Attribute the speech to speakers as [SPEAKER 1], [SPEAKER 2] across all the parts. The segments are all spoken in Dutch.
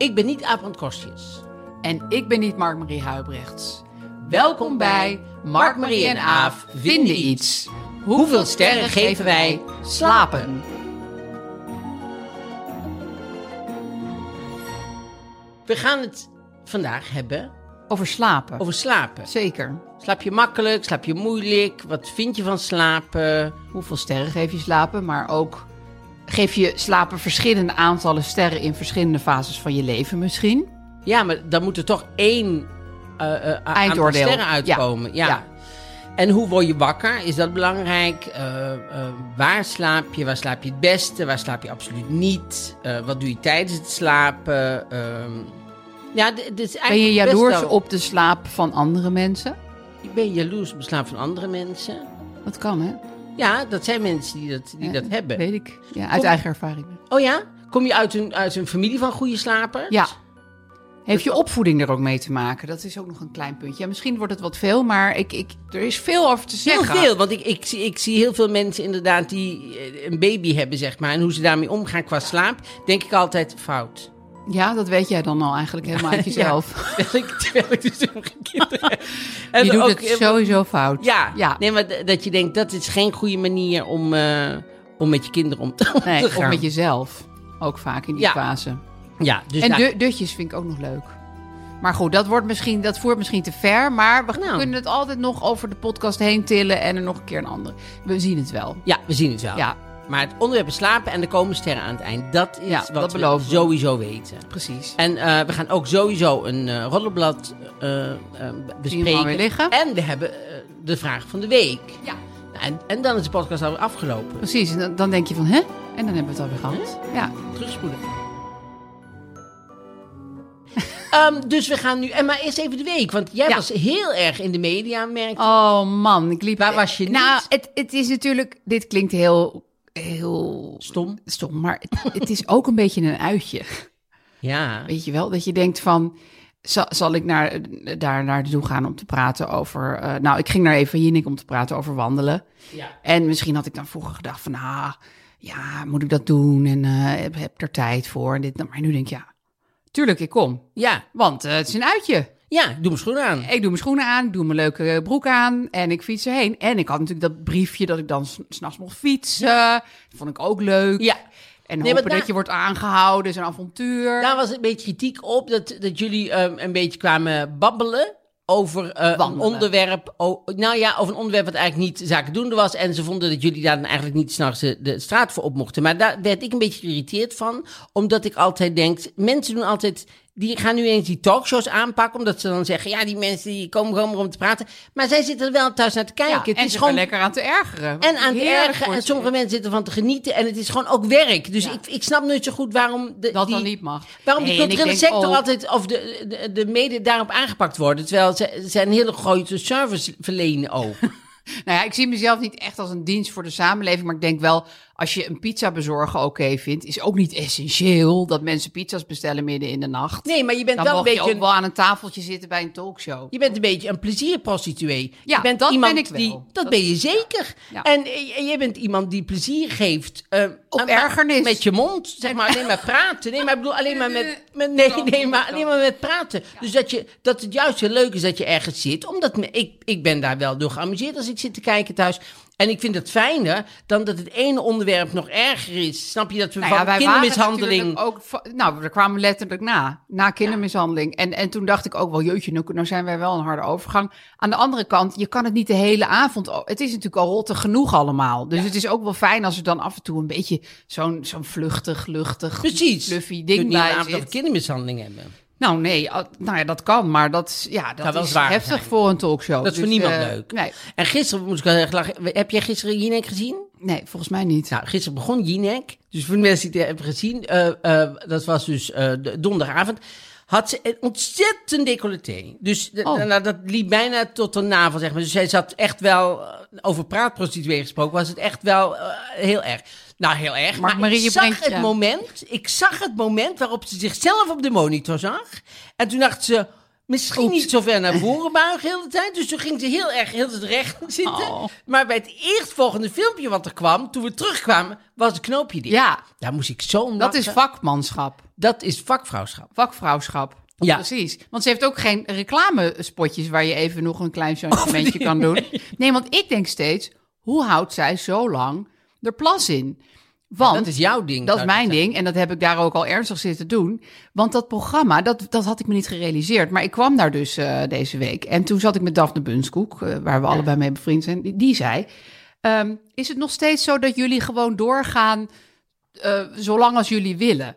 [SPEAKER 1] Ik ben niet Abrand Kostjes.
[SPEAKER 2] En ik ben niet Mark-Marie Huibrechts.
[SPEAKER 1] Welkom bij Mark, Marie en Aaf vinden iets. Hoeveel sterren geven wij slapen? We gaan het vandaag hebben
[SPEAKER 2] Over slapen.
[SPEAKER 1] over slapen.
[SPEAKER 2] Zeker.
[SPEAKER 1] Slaap je makkelijk? Slaap je moeilijk? Wat vind je van slapen?
[SPEAKER 2] Hoeveel sterren geef je slapen, maar ook geef je slapen verschillende aantallen sterren in verschillende fases van je leven misschien.
[SPEAKER 1] Ja, maar dan moet er toch één eh, eh, a- aantal
[SPEAKER 2] Eindoordeel.
[SPEAKER 1] sterren
[SPEAKER 2] Ja.
[SPEAKER 1] uitkomen. Ja.
[SPEAKER 2] Ja.
[SPEAKER 1] En hoe word je wakker? Is dat belangrijk? Eh, eh, waar slaap je? Waar slaap je het beste? Waar slaap je absoluut niet? Eh, wat doe je tijdens het slapen? Ehm, ja, d- dit is eigenlijk
[SPEAKER 2] Ben je
[SPEAKER 1] best
[SPEAKER 2] jaloers
[SPEAKER 1] wel-
[SPEAKER 2] op de slaap van andere mensen?
[SPEAKER 1] Ik ben jaloers op het slaap van andere mensen.
[SPEAKER 2] Dat kan, hè?
[SPEAKER 1] Ja, dat zijn mensen die dat, die
[SPEAKER 2] Ja,
[SPEAKER 1] dat hebben.
[SPEAKER 2] Weet ik. Ja, uit
[SPEAKER 1] Kom-
[SPEAKER 2] eigen ervaring.
[SPEAKER 1] Oh ja? Kom je uit een, uit een familie van goede slapers?
[SPEAKER 2] Ja. Dus- Heeft je opvoeding er ook mee te maken? Dat is ook nog een klein puntje. Ja, misschien wordt het wat veel, maar ik, ik, er is veel over te
[SPEAKER 1] Heel
[SPEAKER 2] zeggen.
[SPEAKER 1] veel, want ik, ik, zie- ik zie heel veel mensen inderdaad die eh, een baby hebben, zeg maar. En hoe ze daarmee omgaan qua slaap, denk ik altijd fout.
[SPEAKER 2] Ja, dat weet jij dan al eigenlijk helemaal uit jezelf.
[SPEAKER 1] Terwijl ik, terwijl ik dus helemaal geen kinderen heb. En
[SPEAKER 2] Je doet
[SPEAKER 1] ook- eh,
[SPEAKER 2] het sowieso fout.
[SPEAKER 1] Ja,
[SPEAKER 2] ja.
[SPEAKER 1] Nee, maar d- dat je denkt, dat is geen goede manier om, eh, om met je kinderen om te, om
[SPEAKER 2] Nee,
[SPEAKER 1] te
[SPEAKER 2] of
[SPEAKER 1] gaan.
[SPEAKER 2] met jezelf. Ook vaak in die
[SPEAKER 1] Ja.
[SPEAKER 2] fase.
[SPEAKER 1] Ja, dus
[SPEAKER 2] en
[SPEAKER 1] daar-
[SPEAKER 2] du- dutjes vind ik ook nog leuk. Maar goed, dat, wordt misschien, dat voert misschien te ver. Maar we
[SPEAKER 1] Nou.
[SPEAKER 2] kunnen het altijd nog over de podcast heen tillen. En er nog een keer een andere. We zien het wel.
[SPEAKER 1] ja, we zien het wel.
[SPEAKER 2] Ja,
[SPEAKER 1] Maar het onderwerp is slapen en er komen sterren aan het eind. Dat is
[SPEAKER 2] Ja,
[SPEAKER 1] wat
[SPEAKER 2] dat
[SPEAKER 1] we
[SPEAKER 2] beloven we.
[SPEAKER 1] sowieso weten.
[SPEAKER 2] precies.
[SPEAKER 1] En eh, we gaan ook sowieso een eh roddelblad eh, eh, bespreken.
[SPEAKER 2] maar weer liggen.
[SPEAKER 1] En we hebben eh, de vraag van de week.
[SPEAKER 2] Ja,
[SPEAKER 1] Nou, En, en dan is de podcast alweer afgelopen.
[SPEAKER 2] precies. En dan, dan denk je van, hè? En dan hebben we het alweer gehad. Ja.
[SPEAKER 1] Terugspoelen. Ehm, dus we gaan nu... En maar eerst even de week. Want jij
[SPEAKER 2] Ja.
[SPEAKER 1] was heel erg in de media, merk ik.
[SPEAKER 2] Oh man, ik liep...
[SPEAKER 1] Waar was je niet?
[SPEAKER 2] Nou, het, het is natuurlijk... Dit klinkt heel... Heel
[SPEAKER 1] Stom.
[SPEAKER 2] stom, maar het, het is ook een beetje een uitje.
[SPEAKER 1] Ja.
[SPEAKER 2] Weet je wel, dat je denkt van... Zal, zal ik naar, daar naartoe gaan om te praten over... eh, nou, ik ging naar Eva Jinek om te praten over wandelen.
[SPEAKER 1] Ja.
[SPEAKER 2] En misschien had ik dan vroeger gedacht van... Ah, ja, moet ik dat doen? En eh, heb, heb ik er tijd voor? En dit, en dat. maar nu denk ik, ja, tuurlijk, ik kom.
[SPEAKER 1] Ja.
[SPEAKER 2] Want eh, het is een uitje.
[SPEAKER 1] Ja, doe mijn schoenen aan.
[SPEAKER 2] Ik doe mijn schoenen aan, ik doe mijn leuke eh, broek aan en ik fiets erheen. En ik had natuurlijk dat briefje dat ik dan s- s'nachts mocht fietsen. Dat vond ik ook leuk.
[SPEAKER 1] Ja.
[SPEAKER 2] En
[SPEAKER 1] maar
[SPEAKER 2] hopen
[SPEAKER 1] daar-
[SPEAKER 2] dat je wordt aangehouden, zo'n avontuur.
[SPEAKER 1] Daar was een beetje kritiek op dat, dat jullie ehm, een beetje kwamen babbelen over eh, een
[SPEAKER 2] Wandelen.
[SPEAKER 1] onderwerp. o- nou ja, over een onderwerp wat eigenlijk niet zakendoende was. En ze vonden dat jullie daar dan eigenlijk niet s'nachts de, de straat voor op mochten. Maar daar werd ik een beetje geïrriteerd van, omdat ik altijd denk: mensen doen altijd. Die gaan nu eens die talkshows aanpakken, omdat ze dan zeggen: ja, die mensen die komen gewoon maar om te praten. Maar zij zitten er wel thuis naar te kijken.
[SPEAKER 2] Ja,
[SPEAKER 1] het
[SPEAKER 2] en
[SPEAKER 1] is
[SPEAKER 2] zich
[SPEAKER 1] gewoon
[SPEAKER 2] er lekker aan te ergeren.
[SPEAKER 1] en aan het
[SPEAKER 2] Heerlijk
[SPEAKER 1] ergen.
[SPEAKER 2] voor
[SPEAKER 1] En
[SPEAKER 2] ze.
[SPEAKER 1] sommige mensen zitten van te genieten. En het is gewoon ook werk. Dus
[SPEAKER 2] Ja.
[SPEAKER 1] ik, ik snap nooit zo goed waarom... De,
[SPEAKER 2] Dat
[SPEAKER 1] die,
[SPEAKER 2] dan niet mag.
[SPEAKER 1] Waarom
[SPEAKER 2] Nee,
[SPEAKER 1] de
[SPEAKER 2] en ik
[SPEAKER 1] culturele
[SPEAKER 2] denk
[SPEAKER 1] sector
[SPEAKER 2] ook-
[SPEAKER 1] altijd... Of de, de, de mede daarop aangepakt worden. Terwijl ze, ze een hele grote service verlenen ook.
[SPEAKER 2] Nou ja, ik zie mezelf niet echt als een dienst voor de samenleving. Maar ik denk wel, als je een pizza bezorgen oké vindt... is ook niet essentieel dat mensen pizza's bestellen midden in de nacht.
[SPEAKER 1] Nee, maar je bent
[SPEAKER 2] Dan
[SPEAKER 1] wel een
[SPEAKER 2] mag je
[SPEAKER 1] beetje...
[SPEAKER 2] ook
[SPEAKER 1] een-
[SPEAKER 2] wel aan een tafeltje zitten bij een talkshow.
[SPEAKER 1] Je bent een beetje een plezierprostituee.
[SPEAKER 2] Ja,
[SPEAKER 1] je bent
[SPEAKER 2] dat
[SPEAKER 1] iemand
[SPEAKER 2] ben ik wel.
[SPEAKER 1] Die, dat,
[SPEAKER 2] Dat-
[SPEAKER 1] ben je zeker.
[SPEAKER 2] Ja.
[SPEAKER 1] En eh, jij bent iemand die plezier geeft. eh,
[SPEAKER 2] Op
[SPEAKER 1] aan-
[SPEAKER 2] ergernis.
[SPEAKER 1] Met je mond, zeg maar. Alleen maar praten. Nee, maar ik bedoel alleen maar met... met nee,
[SPEAKER 2] Zo,
[SPEAKER 1] nee, maar
[SPEAKER 2] zo.
[SPEAKER 1] alleen maar met praten. Dus dat, je, dat het juist heel leuk is dat je ergens zit. Omdat me- ik, ik ben daar wel door geamuseerd als ik zit te kijken thuis. En ik vind het fijner dan dat het ene onderwerp nog erger is. Snap je dat we
[SPEAKER 2] Nou ja,
[SPEAKER 1] van
[SPEAKER 2] wij waren natuurlijk
[SPEAKER 1] kindermishandeling...
[SPEAKER 2] ook. va- Nou, we kwamen letterlijk na. Na kindermishandeling. En, en toen dacht ik ook wel, jeetje, nou, nou zijn wij wel een harde overgang. Aan de andere kant, je kan het niet de hele avond. o- Het is natuurlijk al rotte genoeg allemaal. Dus het is ook wel fijn als er dan af en toe een beetje zo'n zo'n vluchtig, luchtig,
[SPEAKER 1] Precies.
[SPEAKER 2] fluffy
[SPEAKER 1] Je
[SPEAKER 2] ding
[SPEAKER 1] kunt niet
[SPEAKER 2] bij
[SPEAKER 1] een avond
[SPEAKER 2] zit.
[SPEAKER 1] over kindermishandeling hebben.
[SPEAKER 2] Nou nee, al- nou ja, dat kan. Maar dat, is- ja, dat
[SPEAKER 1] Zou wel
[SPEAKER 2] is
[SPEAKER 1] zwaar
[SPEAKER 2] heftig
[SPEAKER 1] zijn.
[SPEAKER 2] voor een talkshow.
[SPEAKER 1] Dat is voor
[SPEAKER 2] Dus,
[SPEAKER 1] niemand
[SPEAKER 2] eh,
[SPEAKER 1] leuk.
[SPEAKER 2] Nee,
[SPEAKER 1] En gisteren moest ik wel erg lachen. Heb jij gisteren Jinek gezien?
[SPEAKER 2] nee, volgens mij niet.
[SPEAKER 1] Nou, gisteren begon Jinek. Dus voor de mensen die het hebben gezien, eh, eh, dat was dus eh, d- donderdagavond. Had ze een ontzettend decolleté. Dus d-
[SPEAKER 2] Oh.
[SPEAKER 1] nou, dat liep bijna tot de navel, zeg maar. Dus zij zat echt wel, eh, over praatprostituee gesproken, was het echt wel eh, heel erg. Nou, heel erg. Maar,
[SPEAKER 2] Marie,
[SPEAKER 1] ik
[SPEAKER 2] je
[SPEAKER 1] zag
[SPEAKER 2] brengt-
[SPEAKER 1] het
[SPEAKER 2] ja.
[SPEAKER 1] moment, ik zag het moment waarop ze zichzelf op de monitor zag. En toen dacht ze, misschien niet zo ver naar voren buigen de hele tijd. Dus toen ging ze heel erg heel het recht zitten.
[SPEAKER 2] Oh.
[SPEAKER 1] Maar bij het eerstvolgende filmpje wat er kwam, toen we terugkwamen, was het knoopje dicht.
[SPEAKER 2] Ja.
[SPEAKER 1] Daar moest ik zo om
[SPEAKER 2] Dat is
[SPEAKER 1] lachen.
[SPEAKER 2] vakmanschap.
[SPEAKER 1] Dat is vakvrouwschap.
[SPEAKER 2] Vakvrouwschap.
[SPEAKER 1] Ja.
[SPEAKER 2] Precies. Want ze heeft ook geen reclamespotjes waar je even nog een
[SPEAKER 1] Oh,
[SPEAKER 2] klein changementje kan doen. Nee, want ik denk steeds, hoe houdt zij zo lang er plas in? Want
[SPEAKER 1] dat is jouw ding,
[SPEAKER 2] Dat is
[SPEAKER 1] zou
[SPEAKER 2] mijn
[SPEAKER 1] ik
[SPEAKER 2] ding. En dat heb ik daar ook al ernstig zitten doen. Want dat programma, dat, dat had ik me niet gerealiseerd. Maar ik kwam daar dus eh, deze week. En toen zat ik met Daphne Bunskoek, eh, waar we allebei mee bevriend zijn. Die, die zei, ehm, is het nog steeds zo dat jullie gewoon doorgaan eh, zolang als jullie willen?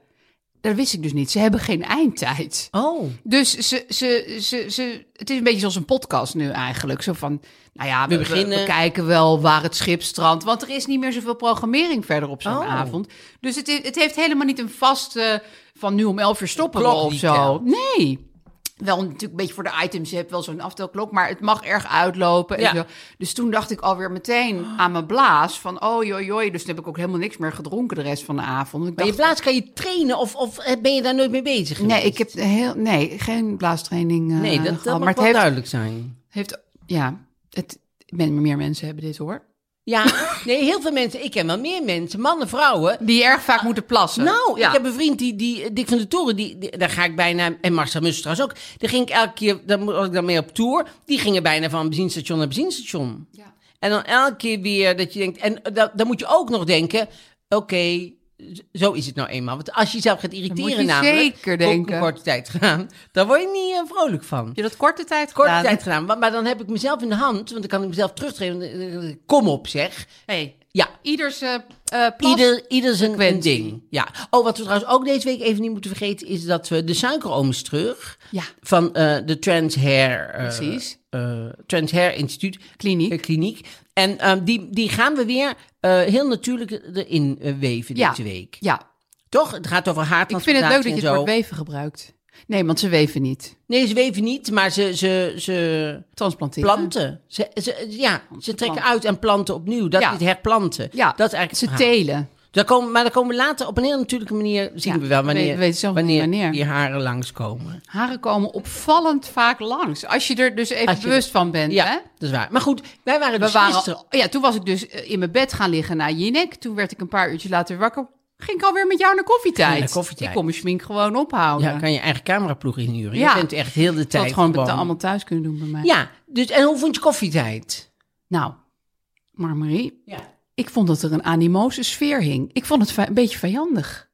[SPEAKER 2] Dat wist ik dus niet. Ze hebben geen eindtijd.
[SPEAKER 1] Oh.
[SPEAKER 2] Dus ze, ze, ze, ze, het is een beetje zoals een podcast nu eigenlijk. Zo van, nou ja, we,
[SPEAKER 1] We
[SPEAKER 2] we- we
[SPEAKER 1] beginnen.
[SPEAKER 2] kijken wel waar het schip strandt. Want er is niet meer zoveel programmering verder op zo'n
[SPEAKER 1] Oh.
[SPEAKER 2] avond. Dus het, i- het heeft helemaal niet een vaste van nu om elf uur stoppen we
[SPEAKER 1] Klok
[SPEAKER 2] of
[SPEAKER 1] die
[SPEAKER 2] zo.
[SPEAKER 1] telt.
[SPEAKER 2] Nee. Wel natuurlijk een beetje voor de items, je hebt wel zo'n aftelklok, maar het mag erg uitlopen. En
[SPEAKER 1] Ja.
[SPEAKER 2] zo. Dus toen dacht ik alweer meteen aan mijn blaas van, oh joi joi, dus toen heb ik ook helemaal niks meer gedronken de rest van de avond. Ik
[SPEAKER 1] Maar je
[SPEAKER 2] dacht,
[SPEAKER 1] plaats kan je trainen of, of eh, ben je daar nooit mee bezig
[SPEAKER 2] Nee,
[SPEAKER 1] geweest?
[SPEAKER 2] ik heb heel, nee, geen blaastraining eh,
[SPEAKER 1] Nee, dat, dat mag
[SPEAKER 2] gehad. maar
[SPEAKER 1] wel
[SPEAKER 2] het heeft,
[SPEAKER 1] duidelijk zijn.
[SPEAKER 2] heeft, ja, het, men- meer mensen hebben dit hoor.
[SPEAKER 1] Ja, nee, heel veel mensen, ik ken wel meer mensen, mannen, vrouwen,
[SPEAKER 2] Die erg vaak moeten plassen.
[SPEAKER 1] Nou,
[SPEAKER 2] Ja.
[SPEAKER 1] ik heb een vriend, die, die, Dick van de Toren, die, die- daar ga ik bijna, en Marcel Mus trouwens ook, daar ging ik elke keer, daar mo- was ik dan mee op tour, die gingen bijna van benzinestation naar benzinestation.
[SPEAKER 2] Ja.
[SPEAKER 1] En dan elke keer weer dat je denkt, en da- dan moet je ook nog denken, oké, z- zo is het nou eenmaal. Want als je jezelf gaat irriteren
[SPEAKER 2] moet je
[SPEAKER 1] namelijk,
[SPEAKER 2] zeker
[SPEAKER 1] op
[SPEAKER 2] denken.
[SPEAKER 1] een korte tijd gedaan, dan word je niet eh, vrolijk van.
[SPEAKER 2] Heb je dat korte tijd
[SPEAKER 1] Korte
[SPEAKER 2] gedaan?
[SPEAKER 1] tijd gedaan, maar, maar dan heb ik mezelf in de hand, want dan kan ik mezelf terugtreden. eh, eh, Kom op zeg.
[SPEAKER 2] Hey,
[SPEAKER 1] Ja,
[SPEAKER 2] ieders eh, eh, plas.
[SPEAKER 1] Ieder, ieder zijn een
[SPEAKER 2] frequentie.
[SPEAKER 1] ding. Ja. Oh, wat we trouwens ook deze week even niet moeten vergeten... is dat we de suikeroom terug...
[SPEAKER 2] Ja.
[SPEAKER 1] van eh, de Trans Hair... eh,
[SPEAKER 2] Precies.
[SPEAKER 1] eh, Trans Hair Instituut.
[SPEAKER 2] Kliniek.
[SPEAKER 1] eh, kliniek. En ehm, die, die gaan we weer eh, heel natuurlijk erin eh, weven
[SPEAKER 2] Ja.
[SPEAKER 1] deze week.
[SPEAKER 2] Ja,
[SPEAKER 1] Toch? Het gaat over
[SPEAKER 2] ik vind het leuk
[SPEAKER 1] haartransplantatie
[SPEAKER 2] dat
[SPEAKER 1] en
[SPEAKER 2] je
[SPEAKER 1] zo.
[SPEAKER 2] het woord weven gebruikt. Nee, want ze weven niet.
[SPEAKER 1] Nee, ze weven niet, maar ze, ze, ze
[SPEAKER 2] Transplanteren.
[SPEAKER 1] planten. Ze, ze, ja, ze trekken
[SPEAKER 2] planten.
[SPEAKER 1] uit en planten opnieuw. Dat
[SPEAKER 2] Ja.
[SPEAKER 1] is herplanten.
[SPEAKER 2] Ja,
[SPEAKER 1] dat is eigenlijk
[SPEAKER 2] ze
[SPEAKER 1] het verhaal.
[SPEAKER 2] telen.
[SPEAKER 1] Daar komen, maar daar komen we later op een heel natuurlijke manier, zien
[SPEAKER 2] Ja,
[SPEAKER 1] we wel, wanneer,
[SPEAKER 2] we weten zelf niet
[SPEAKER 1] wanneer,
[SPEAKER 2] wanneer.
[SPEAKER 1] die haren langskomen.
[SPEAKER 2] Haren komen opvallend vaak langs. Als je er dus even
[SPEAKER 1] Als je-
[SPEAKER 2] bewust van bent.
[SPEAKER 1] Ja,
[SPEAKER 2] hè?
[SPEAKER 1] dat is waar. Maar goed, wij waren
[SPEAKER 2] We
[SPEAKER 1] dus
[SPEAKER 2] waren,
[SPEAKER 1] gisteren...
[SPEAKER 2] ja, toen was ik dus eh, in mijn bed gaan liggen na Jinek. Toen werd ik een paar uurtjes later wakker. Ging ik alweer met jou naar koffietijd.
[SPEAKER 1] Ja, naar koffietijd.
[SPEAKER 2] Ik kon mijn schmink gewoon ophouden.
[SPEAKER 1] Ja, kan je eigen cameraploeg inhuren.
[SPEAKER 2] oh, Ja.
[SPEAKER 1] Je bent echt heel de
[SPEAKER 2] dat
[SPEAKER 1] tijd
[SPEAKER 2] had gewoon
[SPEAKER 1] gewoon-
[SPEAKER 2] allemaal thuis kunnen doen bij mij.
[SPEAKER 1] Ja, dus, en hoe vond je koffietijd?
[SPEAKER 2] Nou, maar Marie,
[SPEAKER 1] Ja.
[SPEAKER 2] ik vond dat er een animose sfeer hing. Ik vond het va- een beetje vijandig.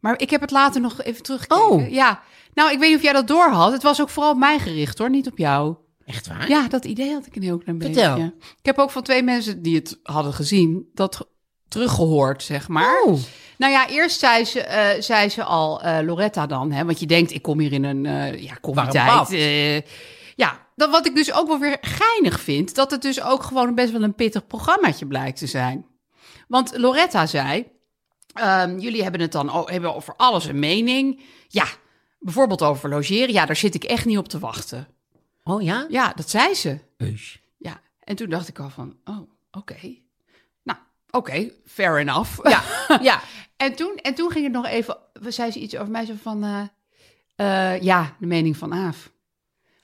[SPEAKER 2] Maar ik heb het later nog even teruggekeken.
[SPEAKER 1] Oh.
[SPEAKER 2] Ja. Nou, ik weet niet of jij dat door had. Het was ook vooral op mij gericht hoor, niet op jou.
[SPEAKER 1] Echt waar?
[SPEAKER 2] Ja, dat idee had ik een heel klein beetje.
[SPEAKER 1] Vertel.
[SPEAKER 2] Ik heb ook van twee mensen die het hadden gezien, dat ge- teruggehoord, zeg maar.
[SPEAKER 1] Oh.
[SPEAKER 2] Nou ja, eerst zei ze, eh, zei ze al, eh, Loretta dan, hè, want je denkt, ik kom hier in een eh ja,
[SPEAKER 1] Warm
[SPEAKER 2] koffietijd.
[SPEAKER 1] bad.
[SPEAKER 2] eh, ja, dat, wat ik dus ook wel weer geinig vind, dat het dus ook gewoon best wel een pittig programmaatje blijkt te zijn. Want Loretta zei, ehm, jullie hebben het dan o- hebben over alles een mening. Ja, bijvoorbeeld over logeren. Ja, daar zit ik echt niet op te wachten.
[SPEAKER 1] Oh ja?
[SPEAKER 2] Ja, dat zei ze.
[SPEAKER 1] Heus.
[SPEAKER 2] Ja, en toen dacht ik al van, oh, oké. Nou, oké, fair enough. Ja,
[SPEAKER 1] Ja.
[SPEAKER 2] En toen, en toen ging het nog even, zei ze iets over mij zo van, eh, eh, ja, de mening van Aaf.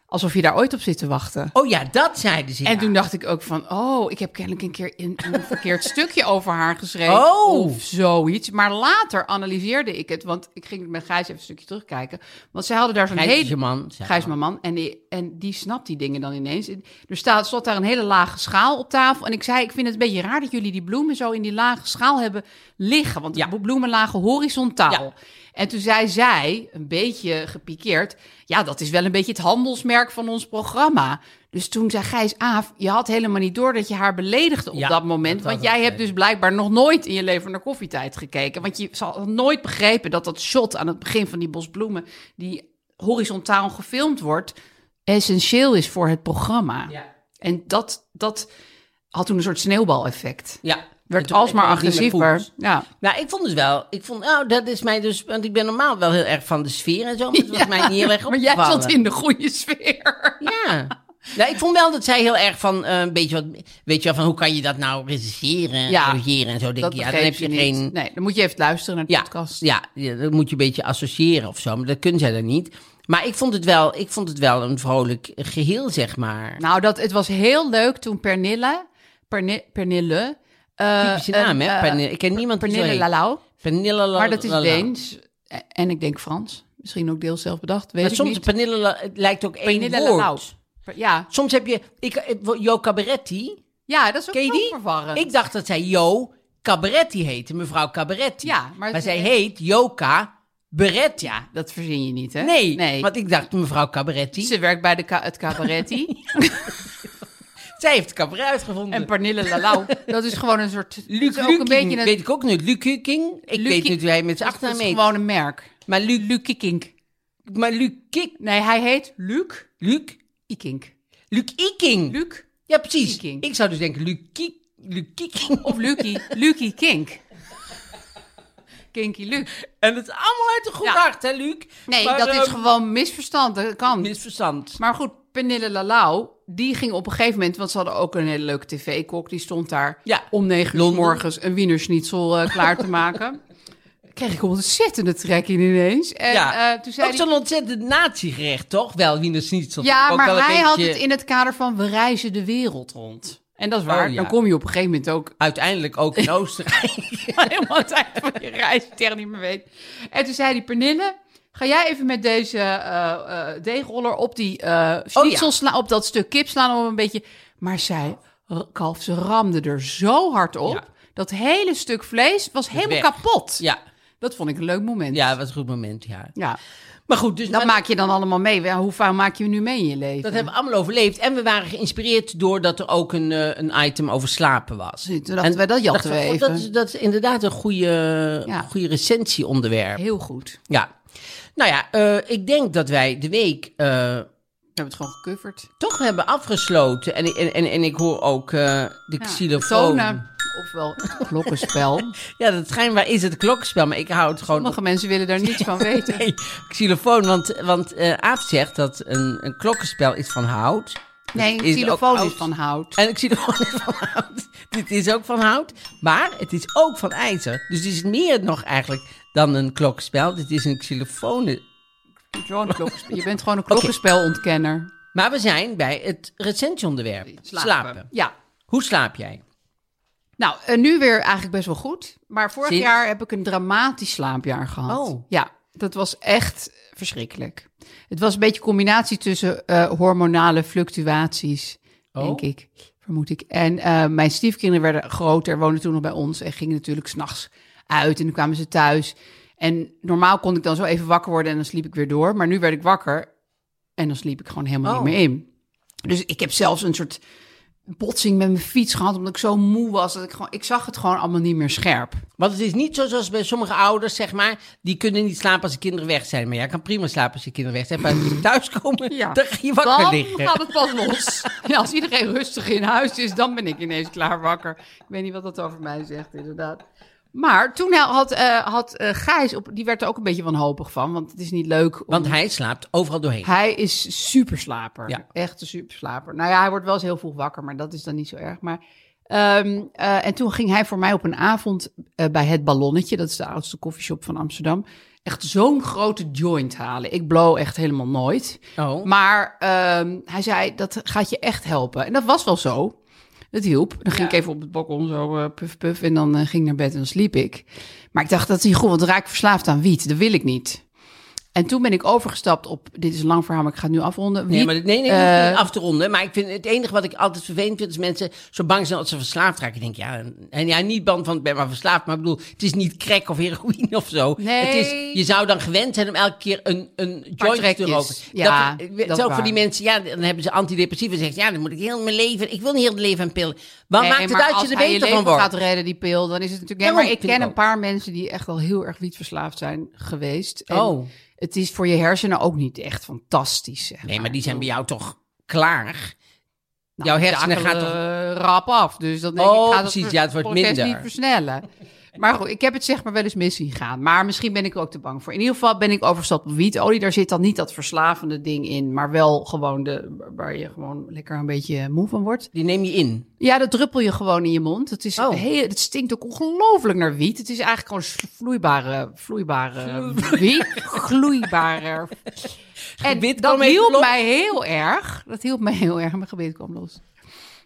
[SPEAKER 2] Alsof je daar ooit op zit te wachten.
[SPEAKER 1] Oh ja, dat zeiden ze.
[SPEAKER 2] En
[SPEAKER 1] ja.
[SPEAKER 2] toen dacht ik ook van, oh, ik heb kennelijk een keer een, een verkeerd stukje over haar geschreven.
[SPEAKER 1] Oh.
[SPEAKER 2] Of zoiets. Maar later analyseerde ik het, want ik ging met Gijs even een stukje terugkijken. Want zij hadden daar zo'n
[SPEAKER 1] Gijs is
[SPEAKER 2] hele...
[SPEAKER 1] je man, zei
[SPEAKER 2] Gijs
[SPEAKER 1] hij.
[SPEAKER 2] mijn man. En die, en die snapt die dingen dan ineens. Er staat, stond daar een hele lage schaal op tafel. En ik zei, ik vind het een beetje raar dat jullie die bloemen zo in die lage schaal hebben liggen. Want de
[SPEAKER 1] Ja.
[SPEAKER 2] bloemen lagen horizontaal.
[SPEAKER 1] Ja.
[SPEAKER 2] En toen zei zij, een beetje gepikeerd, ja, dat is wel een beetje het handelsmerk van ons programma. Dus toen zei Gijs Aaf, je had helemaal niet door dat je haar beledigde op
[SPEAKER 1] Ja,
[SPEAKER 2] dat moment.
[SPEAKER 1] dat
[SPEAKER 2] want
[SPEAKER 1] was
[SPEAKER 2] jij
[SPEAKER 1] het,
[SPEAKER 2] hebt dus blijkbaar nog nooit in je leven naar koffietijd gekeken. Want je zal nooit begrepen dat dat shot aan het begin van die bosbloemen, die horizontaal gefilmd wordt, essentieel is voor het programma.
[SPEAKER 1] Ja.
[SPEAKER 2] En dat, dat had toen een soort sneeuwbaleffect.
[SPEAKER 1] Ja.
[SPEAKER 2] Werd
[SPEAKER 1] En toen-
[SPEAKER 2] alsmaar
[SPEAKER 1] en toen ging het
[SPEAKER 2] agressiever.
[SPEAKER 1] goed.
[SPEAKER 2] Ja.
[SPEAKER 1] Nou, ik vond het wel. Ik vond, nou, dat is mij dus. Want ik ben normaal wel heel erg van de sfeer en zo. Maar het was
[SPEAKER 2] Ja,
[SPEAKER 1] mij niet heel erg
[SPEAKER 2] Maar jij
[SPEAKER 1] opgevallen.
[SPEAKER 2] zat in de goede sfeer.
[SPEAKER 1] Ja. Nou, ik vond wel dat zij heel erg van eh, een beetje wat. Weet je wel, van hoe kan je dat nou regisseren?
[SPEAKER 2] Ja.
[SPEAKER 1] Regeren en zo. Denk
[SPEAKER 2] Dat
[SPEAKER 1] ik, ja, dan
[SPEAKER 2] begreep
[SPEAKER 1] heb je,
[SPEAKER 2] niet.
[SPEAKER 1] geen.
[SPEAKER 2] Nee, dan moet je even luisteren naar de
[SPEAKER 1] Ja,
[SPEAKER 2] podcast.
[SPEAKER 1] ja, ja, dat moet je een beetje associëren of zo. Maar dat kunnen zij dan niet. Maar ik vond het wel, ik vond het wel een vrolijk geheel, zeg maar.
[SPEAKER 2] Nou, dat, het was heel leuk toen Pernille... Perne, Pernille... eh,
[SPEAKER 1] Typische naam,
[SPEAKER 2] eh,
[SPEAKER 1] hè?
[SPEAKER 2] eh,
[SPEAKER 1] Pernille. Ik ken niemand die zo
[SPEAKER 2] Pernille
[SPEAKER 1] heet.
[SPEAKER 2] Lalau.
[SPEAKER 1] Pernille La-
[SPEAKER 2] Maar dat is
[SPEAKER 1] La- La-
[SPEAKER 2] Deens. E- En ik denk Frans. Misschien ook deels zelf bedacht, weet
[SPEAKER 1] Maar
[SPEAKER 2] ik
[SPEAKER 1] soms,
[SPEAKER 2] niet.
[SPEAKER 1] Pernille, La- het lijkt ook
[SPEAKER 2] Pernille
[SPEAKER 1] één woord.
[SPEAKER 2] Lalau. Per- Ja.
[SPEAKER 1] Soms heb je, ik, eh, Jo Cabaretti.
[SPEAKER 2] ja, dat is ook
[SPEAKER 1] Ken je
[SPEAKER 2] zo
[SPEAKER 1] die?
[SPEAKER 2] verwarrend.
[SPEAKER 1] Ik dacht dat zij Jo Cabaretti heette, mevrouw Cabaretti.
[SPEAKER 2] Ja, maar
[SPEAKER 1] maar,
[SPEAKER 2] het-
[SPEAKER 1] zij heet Joka Beretti. Ja,
[SPEAKER 2] Dat verzin je niet, hè?
[SPEAKER 1] nee,
[SPEAKER 2] nee.
[SPEAKER 1] want ik dacht mevrouw Cabaretti.
[SPEAKER 2] Ze werkt bij de ka- het cabaretti.
[SPEAKER 1] Zij heeft cabaret uitgevonden.
[SPEAKER 2] en Pernille Lalau. Dat is gewoon een soort... dat
[SPEAKER 1] Luc
[SPEAKER 2] is ook een beetje een...
[SPEAKER 1] weet ik ook niet. Luc Kukking. Ik
[SPEAKER 2] Luc
[SPEAKER 1] weet
[SPEAKER 2] Ki-
[SPEAKER 1] niet hoe hij met zijn
[SPEAKER 2] Dat
[SPEAKER 1] achternaam
[SPEAKER 2] is
[SPEAKER 1] heet.
[SPEAKER 2] gewoon een merk.
[SPEAKER 1] Maar Luc,
[SPEAKER 2] Luc Ikink.
[SPEAKER 1] maar Luc Kik,
[SPEAKER 2] Nee, hij heet Luc
[SPEAKER 1] Luc,
[SPEAKER 2] Ikink.
[SPEAKER 1] Luc Iking.
[SPEAKER 2] Luc
[SPEAKER 1] ja, precies.
[SPEAKER 2] Iking.
[SPEAKER 1] Ik zou dus denken Luc Kik, Luc Kikking.
[SPEAKER 2] of Lucky, Lucky Kink. Kinky Luc.
[SPEAKER 1] En dat is allemaal uit de goede
[SPEAKER 2] Ja.
[SPEAKER 1] hart, hè, Luc?
[SPEAKER 2] Nee,
[SPEAKER 1] Maar,
[SPEAKER 2] dat is
[SPEAKER 1] ehm,
[SPEAKER 2] gewoon misverstand. Dat kan.
[SPEAKER 1] misverstand.
[SPEAKER 2] Maar goed, Pernille Lalau, die ging op een gegeven moment... want ze hadden ook een hele leuke tv-kok. Die stond daar
[SPEAKER 1] Ja,
[SPEAKER 2] om negen uur
[SPEAKER 1] Londen.
[SPEAKER 2] morgens een wienerschnitzel eh, klaar te maken. Kreeg ik een ontzettende trek in ineens. En,
[SPEAKER 1] ja,
[SPEAKER 2] eh, toen zei
[SPEAKER 1] ook
[SPEAKER 2] die-
[SPEAKER 1] zo'n ontzettend natiegerecht, toch? Wel, Wieners Schnitzel.
[SPEAKER 2] Ja,
[SPEAKER 1] Ook
[SPEAKER 2] maar
[SPEAKER 1] wel een
[SPEAKER 2] hij had
[SPEAKER 1] beetje-
[SPEAKER 2] het in het kader van we reizen de wereld rond. En dat is waar.
[SPEAKER 1] Oh, ja.
[SPEAKER 2] Dan kom je op een gegeven moment ook
[SPEAKER 1] Uiteindelijk ook in Oostenrijk.
[SPEAKER 2] helemaal het eind van je reis, die het echt niet meer weet. En toen zei die Pernille, ga jij even met deze eh, eh, deegroller op die
[SPEAKER 1] Oh,
[SPEAKER 2] eh schnitzel slaan, op dat stuk kip slaan om een beetje... Maar zij, r- kalf, ze ramde er zo hard op,
[SPEAKER 1] Ja.
[SPEAKER 2] dat hele stuk vlees was
[SPEAKER 1] weg.
[SPEAKER 2] helemaal kapot.
[SPEAKER 1] ja.
[SPEAKER 2] Dat vond ik een leuk moment.
[SPEAKER 1] ja, dat was een goed moment, ja.
[SPEAKER 2] Ja.
[SPEAKER 1] Maar goed, dus
[SPEAKER 2] Dat
[SPEAKER 1] maar-
[SPEAKER 2] maak je dan allemaal mee. Ja, Hoe vaak maak je nu mee in je leven?
[SPEAKER 1] dat hebben we allemaal overleefd. En we waren geïnspireerd doordat er ook een, eh, een item over slapen was.
[SPEAKER 2] Toen dachten wij, dat jatten
[SPEAKER 1] dachten
[SPEAKER 2] we
[SPEAKER 1] oh,
[SPEAKER 2] even.
[SPEAKER 1] Dat is, dat is inderdaad een goede,
[SPEAKER 2] Ja.
[SPEAKER 1] goede recensieonderwerp.
[SPEAKER 2] Heel goed. We
[SPEAKER 1] Ja. Nou ja, eh, ik denk dat wij de week eh,
[SPEAKER 2] hebben het gewoon gecoverd.
[SPEAKER 1] toch hebben afgesloten. En, ik- en, en, en ik hoor ook eh, de xylofoon.
[SPEAKER 2] Tonen, ofwel klokkenspel.
[SPEAKER 1] Ja, dat schijnbaar is het klokspel, maar ik hou het gewoon op.
[SPEAKER 2] Sommige mensen willen daar niets van weten.
[SPEAKER 1] Nee, xylofoon, want, want eh, Aaf zegt dat een, een klokkenspel is van hout.
[SPEAKER 2] Nee,
[SPEAKER 1] Dat
[SPEAKER 2] een xylofoon
[SPEAKER 1] ook
[SPEAKER 2] is van hout.
[SPEAKER 1] En ik zie er gewoon van hout. Dit is ook van hout, maar het is ook van ijzer. Dus het is meer nog eigenlijk dan een klokspel. Dit is een xylofoon.
[SPEAKER 2] Gewoon een klokkenspel. Je bent gewoon een klokkenspelontkenner.
[SPEAKER 1] Maar we zijn bij het recensieonderwerp. Slapen.
[SPEAKER 2] Ja.
[SPEAKER 1] Hoe slaap jij?
[SPEAKER 2] Nou, eh, nu weer eigenlijk best wel goed. Maar vorig
[SPEAKER 1] Sinds?
[SPEAKER 2] jaar heb ik een dramatisch slaapjaar gehad.
[SPEAKER 1] Oh.
[SPEAKER 2] Ja, dat was echt verschrikkelijk. Het was een beetje een combinatie tussen eh, hormonale fluctuaties, denk ik, vermoed ik. En eh, mijn stiefkinderen werden groter, woonden toen nog bij ons en gingen natuurlijk s'nachts uit en dan kwamen ze thuis. En normaal kon ik dan zo even wakker worden en dan sliep ik weer door. Maar nu werd ik wakker en dan sliep ik gewoon helemaal
[SPEAKER 1] Oh.
[SPEAKER 2] niet meer in. Dus ik heb zelfs een soort botsing met mijn fiets gehad, omdat ik zo moe was. Dat ik, gewoon, ik zag het gewoon allemaal niet meer scherp.
[SPEAKER 1] Want het is niet zo zoals bij sommige ouders, zeg maar. Die kunnen niet slapen als de kinderen weg zijn. Maar jij kan prima slapen als de kinderen weg zijn. Maar als ze thuiskomen, dan ga je wakker
[SPEAKER 2] dan
[SPEAKER 1] liggen.
[SPEAKER 2] gaat het pas los. ja, als iedereen rustig in huis is, dan ben ik ineens klaar wakker. Ik weet niet wat dat over mij zegt, inderdaad. Maar toen had, eh, had eh, Gijs, op, die werd er ook een beetje wanhopig van, want het is niet leuk. om-
[SPEAKER 1] Want hij slaapt overal doorheen.
[SPEAKER 2] Hij is superslaper.
[SPEAKER 1] Ja.
[SPEAKER 2] Echt een superslaper. Nou ja, hij wordt wel eens heel vroeg wakker, maar dat is dan niet zo erg. Maar Ehm, eh, en toen ging hij voor mij op een avond eh, bij Het Ballonnetje, dat is de oudste koffieshop van Amsterdam, echt zo'n grote joint halen. Ik blow echt helemaal nooit.
[SPEAKER 1] Oh.
[SPEAKER 2] Maar ehm, hij zei, dat gaat je echt helpen. En dat was wel zo. Het hielp. Dan ging ik even op het balkon zo eh, puf puf en dan eh, ging ik naar bed en dan sliep ik. Maar ik dacht, dat is niet goed, want dan raak ik verslaafd aan wiet. Dat wil ik niet. En toen ben ik overgestapt op, dit is een lang verhaal, maar ik ga het nu afronden.
[SPEAKER 1] Nee,
[SPEAKER 2] Wiet,
[SPEAKER 1] maar dit- nee, nee,
[SPEAKER 2] eh,
[SPEAKER 1] niet af te ronden. Maar ik vind het enige wat ik altijd vervelend vind, is mensen zo bang zijn dat ze verslaafd raken. Ik denk, ja, en- en ja, niet bang van, ik ben maar verslaafd. Maar ik bedoel, het is niet crack of heroïne of zo.
[SPEAKER 2] Nee.
[SPEAKER 1] Het is, je zou dan gewend zijn om elke keer een, een joint te
[SPEAKER 2] trekjes.
[SPEAKER 1] roken.
[SPEAKER 2] Ja,
[SPEAKER 1] dat,
[SPEAKER 2] dat is
[SPEAKER 1] zo voor
[SPEAKER 2] waar.
[SPEAKER 1] die mensen, ja, dan hebben ze antidepressiva. en Zeggen ze, ja, dan moet ik heel mijn leven, ik wil niet heel mijn leven aan pillen. Waar
[SPEAKER 2] Nee,
[SPEAKER 1] maakt het
[SPEAKER 2] maar
[SPEAKER 1] uit
[SPEAKER 2] als
[SPEAKER 1] je er
[SPEAKER 2] hij
[SPEAKER 1] beter
[SPEAKER 2] leven
[SPEAKER 1] van wordt?
[SPEAKER 2] gaat redden, die pil, dan is het natuurlijk... Nee,
[SPEAKER 1] Daarom
[SPEAKER 2] maar ik
[SPEAKER 1] vind ik
[SPEAKER 2] ken
[SPEAKER 1] ook.
[SPEAKER 2] een paar mensen die echt wel heel erg wietverslaafd zijn geweest. En
[SPEAKER 1] Oh.
[SPEAKER 2] Het is voor je hersenen ook niet echt fantastisch, zeg
[SPEAKER 1] Nee, maar die zijn bij jou toch klaar?
[SPEAKER 2] Nou,
[SPEAKER 1] Jouw
[SPEAKER 2] die
[SPEAKER 1] hersenen
[SPEAKER 2] takelen,
[SPEAKER 1] gaat toch...
[SPEAKER 2] eh, rap af. Dus dan denk
[SPEAKER 1] Oh,
[SPEAKER 2] ik, gaat
[SPEAKER 1] precies. Ja, het wordt
[SPEAKER 2] proces
[SPEAKER 1] minder.
[SPEAKER 2] niet versnellen. Maar goed, ik heb het zeg maar wel eens mis zien gaan. Maar misschien ben ik er ook te bang voor. In ieder geval ben ik overgestapt op wietolie. Daar zit dan niet dat verslavende ding in. Maar wel gewoon de, waar je gewoon lekker een beetje moe van wordt.
[SPEAKER 1] Die neem je in.
[SPEAKER 2] Ja, dat druppel je gewoon in je mond. Het, is
[SPEAKER 1] Oh.
[SPEAKER 2] heel, het stinkt ook ongelooflijk naar wiet. Het is eigenlijk gewoon s- vloeibare, vloeibare wiet. Gloeibare. En
[SPEAKER 1] Gebit
[SPEAKER 2] dat
[SPEAKER 1] kwam even
[SPEAKER 2] hielp
[SPEAKER 1] los.
[SPEAKER 2] mij heel erg. Dat hielp mij heel erg. Mijn gebit kwam los.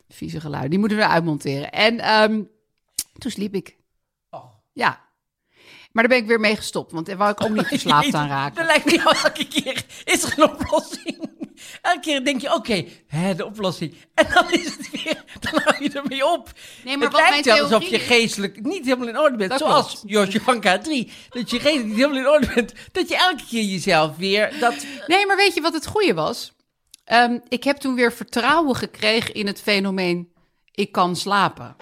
[SPEAKER 2] Vieze geluid. Die moeten we eruit monteren. En ehm, toen sliep ik.
[SPEAKER 1] Oh.
[SPEAKER 2] Ja. Maar daar ben ik weer mee gestopt. Want daar wou ik ook niet verslaafd aan
[SPEAKER 1] Dan
[SPEAKER 2] raken.
[SPEAKER 1] lijkt me jou elke keer, is er een oplossing? Elke keer denk je, oké, hè, de oplossing. En dan is het weer, dan hou je ermee op.
[SPEAKER 2] Nee, maar
[SPEAKER 1] het
[SPEAKER 2] wat
[SPEAKER 1] lijkt
[SPEAKER 2] mijn
[SPEAKER 1] wel alsof je
[SPEAKER 2] theorie is-
[SPEAKER 1] geestelijk niet helemaal in orde bent.
[SPEAKER 2] Dat
[SPEAKER 1] zoals
[SPEAKER 2] klopt.
[SPEAKER 1] Josje van K3. Dat je geestelijk niet helemaal in orde bent. Dat je elke keer jezelf weer... Dat,
[SPEAKER 2] Nee, maar weet je wat het goede was? Ehm, ik heb toen weer vertrouwen gekregen in het fenomeen ik kan slapen.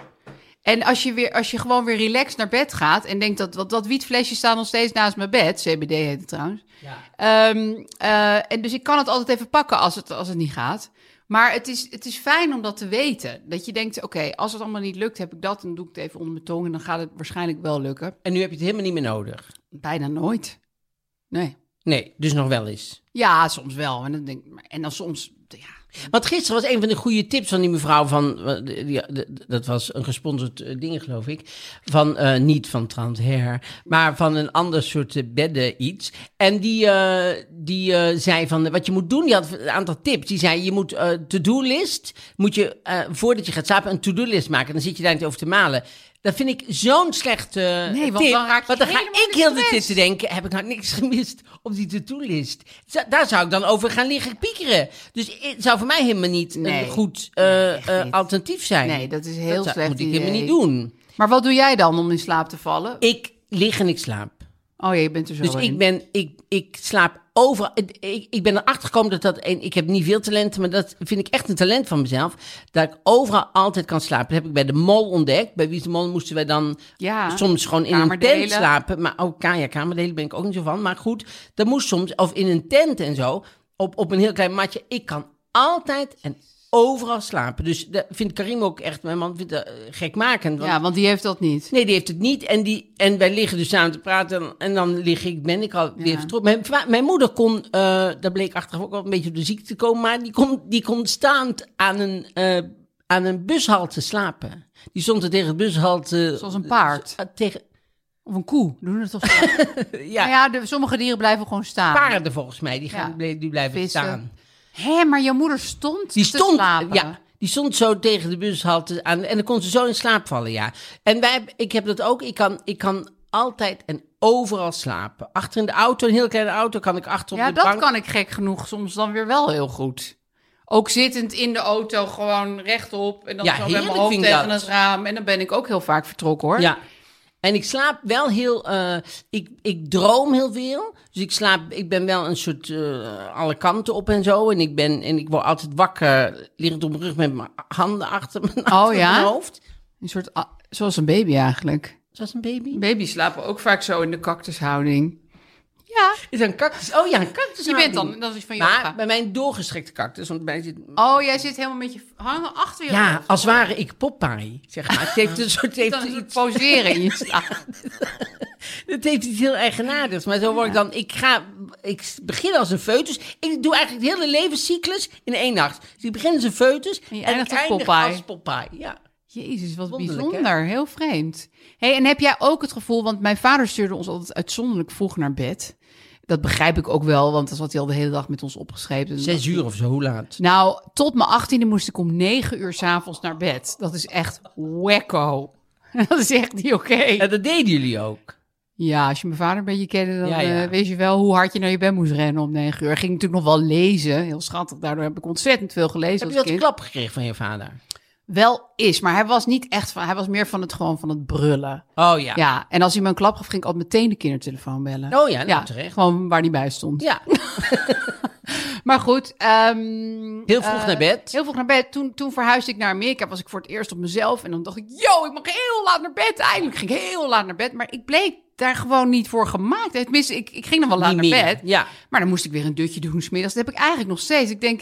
[SPEAKER 2] En als je, weer, als je gewoon weer relaxed naar bed gaat en denkt dat dat, dat wietflesje staat nog steeds naast mijn bed, CBD heet het trouwens. Ehm, eh, en dus ik kan het altijd even pakken als het, als het niet gaat. Maar het is, het is fijn om dat te weten. Dat je denkt, oké, als het allemaal niet lukt, heb ik dat en doe ik het even onder mijn tong en dan gaat het waarschijnlijk wel lukken.
[SPEAKER 1] en nu heb je het helemaal niet meer nodig.
[SPEAKER 2] Bijna nooit. Nee.
[SPEAKER 1] Nee, dus nog wel eens.
[SPEAKER 2] Ja, soms wel. En dan, denk, ik- en dan soms, ja,
[SPEAKER 1] Want gisteren was een van de goede tips van die mevrouw van... eh, die- die- dat was een gesponsord eh, ding, geloof ik. Van, eh, niet van Transhair, maar van een ander soort eh, bedden iets. En die, eh, die eh, zei van, eh, wat je moet doen, die had een aantal tips. Die zei, je moet eh to-do list, moet je eh, voordat je gaat slapen een to-do list maken. Dan zit je daar niet over te malen. Dat vind ik zo'n slechte eh,
[SPEAKER 2] Nee, want
[SPEAKER 1] tip.
[SPEAKER 2] dan raak je
[SPEAKER 1] want dan ga
[SPEAKER 2] helemaal in
[SPEAKER 1] ik
[SPEAKER 2] de
[SPEAKER 1] heel de
[SPEAKER 2] stress.
[SPEAKER 1] tijd te denken, heb ik nou niks gemist op die to-do-list? Za- Daar zou ik dan over gaan liggen piekeren. Dus het zou voor mij helemaal niet
[SPEAKER 2] Nee.
[SPEAKER 1] een goed eh,
[SPEAKER 2] echt
[SPEAKER 1] eh,
[SPEAKER 2] niet.
[SPEAKER 1] alternatief zijn.
[SPEAKER 2] Nee, dat is heel
[SPEAKER 1] zou-
[SPEAKER 2] slecht
[SPEAKER 1] moet ik
[SPEAKER 2] idee.
[SPEAKER 1] helemaal niet doen.
[SPEAKER 2] Maar wat doe jij dan om in slaap te vallen?
[SPEAKER 1] Ik lig en ik slaap.
[SPEAKER 2] oh ja, je bent er zo
[SPEAKER 1] Dus
[SPEAKER 2] in.
[SPEAKER 1] ik, ben, ik, ik slaap overal. Ik, ik ben erachter gekomen dat dat... En ik heb niet veel talenten, maar dat vind ik echt een talent van mezelf. Dat ik overal altijd kan slapen. Dat heb ik bij de mol ontdekt. Bij Wie is de Mol moesten wij dan
[SPEAKER 2] Ja.
[SPEAKER 1] soms gewoon in een
[SPEAKER 2] Kamerdelen.
[SPEAKER 1] tent slapen. Maar ook ja, kamerdelen ben ik ook niet zo van. Maar goed, dat moest soms... Of in een tent en zo. Op, op een heel klein matje. Ik kan altijd en overal slapen. Dus dat vindt Karim ook echt... Mijn man vindt dat eh, gekmakend. want
[SPEAKER 2] Ja, want die heeft dat niet.
[SPEAKER 1] Nee, die heeft het niet. En, die, en wij liggen dus samen te praten. En, en dan lig ik, ben ik al weer vertrokken. Mijn, va- mijn moeder kon, eh dat bleek achteraf ook wel een beetje op de ziekte komen. Maar die kon, die kon staand aan een, eh, aan een bushalte slapen. Die stond er tegen het bushalte.
[SPEAKER 2] Zoals een paard.
[SPEAKER 1] eh, tegen
[SPEAKER 2] Of een koe. Doen het toch zo? ja,
[SPEAKER 1] ja,
[SPEAKER 2] nou ja de, sommige dieren blijven gewoon staan.
[SPEAKER 1] paarden volgens mij. Die, gaan,
[SPEAKER 2] Ja.
[SPEAKER 1] ble- die blijven
[SPEAKER 2] Vissen.
[SPEAKER 1] staan.
[SPEAKER 2] Hé, maar je moeder stond
[SPEAKER 1] Die
[SPEAKER 2] te
[SPEAKER 1] stond,
[SPEAKER 2] slapen.
[SPEAKER 1] ja, die stond zo tegen de bushalte aan. En dan kon ze zo in slaap vallen, ja. En wij, heb- ik heb dat ook. Ik kan, ik kan altijd en overal slapen. Achter in de auto, een heel kleine auto, kan ik achter op
[SPEAKER 2] Ja,
[SPEAKER 1] de
[SPEAKER 2] dat
[SPEAKER 1] bank.
[SPEAKER 2] kan ik gek genoeg soms dan weer wel heel goed. Ook zittend in de auto, gewoon rechtop. En dan
[SPEAKER 1] Ja,
[SPEAKER 2] zo met mijn
[SPEAKER 1] heerlijk
[SPEAKER 2] hoofd
[SPEAKER 1] vind ik
[SPEAKER 2] tegen
[SPEAKER 1] dat.
[SPEAKER 2] het raam. En dan ben ik ook heel vaak vertrokken, hoor.
[SPEAKER 1] Ja. En ik slaap wel heel. eh, ik, ik droom heel veel. Dus ik slaap. Ik ben wel een soort. eh, alle kanten op en zo. En ik, ben, en ik word altijd wakker. Liggend op mijn rug met mijn handen achter mijn, achter
[SPEAKER 2] Oh, ja?
[SPEAKER 1] mijn hoofd.
[SPEAKER 2] Een soort, a- zoals een baby eigenlijk.
[SPEAKER 1] Zoals een baby.
[SPEAKER 2] Baby's slapen ook vaak zo in de cactushouding. Ja.
[SPEAKER 1] Is een cactus. Oh ja, een cactus.
[SPEAKER 2] Je bent dan, dat is van
[SPEAKER 1] Maar
[SPEAKER 2] yoga.
[SPEAKER 1] bij mijn doorgestrekte cactus. Want bij mij zit.
[SPEAKER 2] Oh, jij zit helemaal met je hangen achter je
[SPEAKER 1] Ja,
[SPEAKER 2] hoofd.
[SPEAKER 1] als ware ik Popeye, zeg maar. Het heeft een soort... Heeft
[SPEAKER 2] Dan oh, is het
[SPEAKER 1] iets,
[SPEAKER 2] poseren in je slaap.
[SPEAKER 1] het heeft iets heel eigenaardigs. Maar zo word ik dan... Ik ga... Ik begin als een foetus. Ik doe eigenlijk het hele levenscyclus in één nacht. Dus ik begin als een foetus
[SPEAKER 2] je
[SPEAKER 1] en, ik
[SPEAKER 2] eindigt als
[SPEAKER 1] eindig
[SPEAKER 2] Popeye.
[SPEAKER 1] als Popeye. Ja.
[SPEAKER 2] Jezus, wat
[SPEAKER 1] Wonderlijk,
[SPEAKER 2] bijzonder. Heel vreemd. Hey, en heb jij ook het gevoel, want mijn vader stuurde ons altijd uitzonderlijk vroeg naar bed. Dat begrijp ik ook wel, want dat had hij al de hele dag met ons opgeschreven. En
[SPEAKER 1] Zes uur of zo, hoe laat?
[SPEAKER 2] Nou, tot mijn achttiende moest ik om negen uur s'avonds naar bed. Dat is echt wekko. Dat is echt niet oké.
[SPEAKER 1] En dat deden jullie ook.
[SPEAKER 2] Ja, als je mijn vader een beetje kende, dan
[SPEAKER 1] Ja, ja.
[SPEAKER 2] eh, weet je wel hoe hard je naar je bed moest rennen om negen uur. Ik ging natuurlijk nog wel lezen, heel schattig. Daardoor heb ik ontzettend veel gelezen
[SPEAKER 1] Heb
[SPEAKER 2] als
[SPEAKER 1] je dat
[SPEAKER 2] kind.
[SPEAKER 1] klap gekregen van je vader?
[SPEAKER 2] Wel is, maar hij was niet echt van, hij was meer van het gewoon van het brullen.
[SPEAKER 1] Oh ja.
[SPEAKER 2] Ja, en als hij me een klap gaf, ging ik altijd meteen de kindertelefoon bellen.
[SPEAKER 1] Oh ja, nou, terecht.
[SPEAKER 2] gewoon waar hij bij stond.
[SPEAKER 1] Ja,
[SPEAKER 2] Maar goed, ehm,
[SPEAKER 1] heel vroeg
[SPEAKER 2] eh,
[SPEAKER 1] naar bed.
[SPEAKER 2] Heel vroeg naar bed. Toen, toen verhuisde ik naar Amerika. Was ik voor het eerst op mezelf. En dan dacht ik, yo, ik mag heel laat naar bed. Eindelijk ging ik heel laat naar bed. Maar ik bleek daar gewoon niet voor gemaakt. Tenminste, ik, ik ging nog wel laat
[SPEAKER 1] Niet
[SPEAKER 2] naar
[SPEAKER 1] meer,
[SPEAKER 2] bed.
[SPEAKER 1] ja.
[SPEAKER 2] Maar dan moest ik weer een dutje doen smiddags. Dat heb ik eigenlijk nog steeds. Ik denk,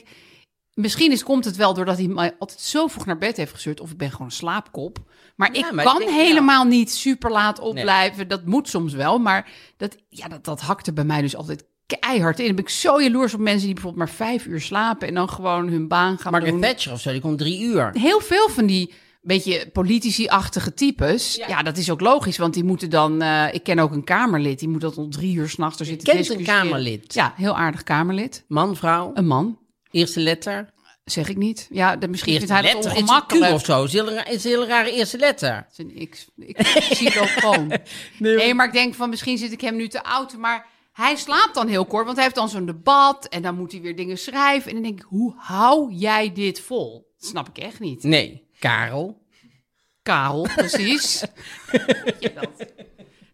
[SPEAKER 2] misschien is, komt het wel doordat hij mij altijd zo vroeg naar bed heeft gestuurd. Of ik ben gewoon een slaapkop. Maar
[SPEAKER 1] Ja,
[SPEAKER 2] ik
[SPEAKER 1] maar ik
[SPEAKER 2] kan
[SPEAKER 1] denk, ja.
[SPEAKER 2] helemaal niet super laat
[SPEAKER 1] Nee.
[SPEAKER 2] opblijven. Dat moet soms wel. Maar dat, ja, dat, dat hakte bij mij dus altijd keihard in. Dan ben ik zo jaloers op mensen die bijvoorbeeld maar vijf uur slapen. En dan gewoon hun baan gaan
[SPEAKER 1] Margaret
[SPEAKER 2] doen
[SPEAKER 1] Thatcher of zo, die komt drie uur.
[SPEAKER 2] heel veel van die beetje politici-achtige types. Ja. dat is ook logisch, want die moeten dan... eh, ik ken ook een Kamerlid, die moet dat om drie uur s'nachts er zitten
[SPEAKER 1] kent een
[SPEAKER 2] discussiëren.
[SPEAKER 1] Kamerlid?
[SPEAKER 2] Ja, heel aardig Kamerlid.
[SPEAKER 1] Man, vrouw,
[SPEAKER 2] Een man,
[SPEAKER 1] eerste letter.
[SPEAKER 2] zeg ik niet. Ja, de, misschien vindt
[SPEAKER 1] Eerste
[SPEAKER 2] hij dat
[SPEAKER 1] letter is een Q
[SPEAKER 2] ongemakkelijk.
[SPEAKER 1] of zo. Is heel raar- is een hele rare eerste letter.
[SPEAKER 2] Het is een X. Ik, ik zie het ook gewoon. Nee, maar ik denk van misschien zit ik hem nu te oud. Maar hij slaapt dan heel kort, want hij heeft dan zo'n debat. En dan moet hij weer dingen schrijven. En dan denk ik, hoe hou jij dit vol? Dat snap ik echt niet.
[SPEAKER 1] Nee, Karel.
[SPEAKER 2] Karel, precies. Weet je dat?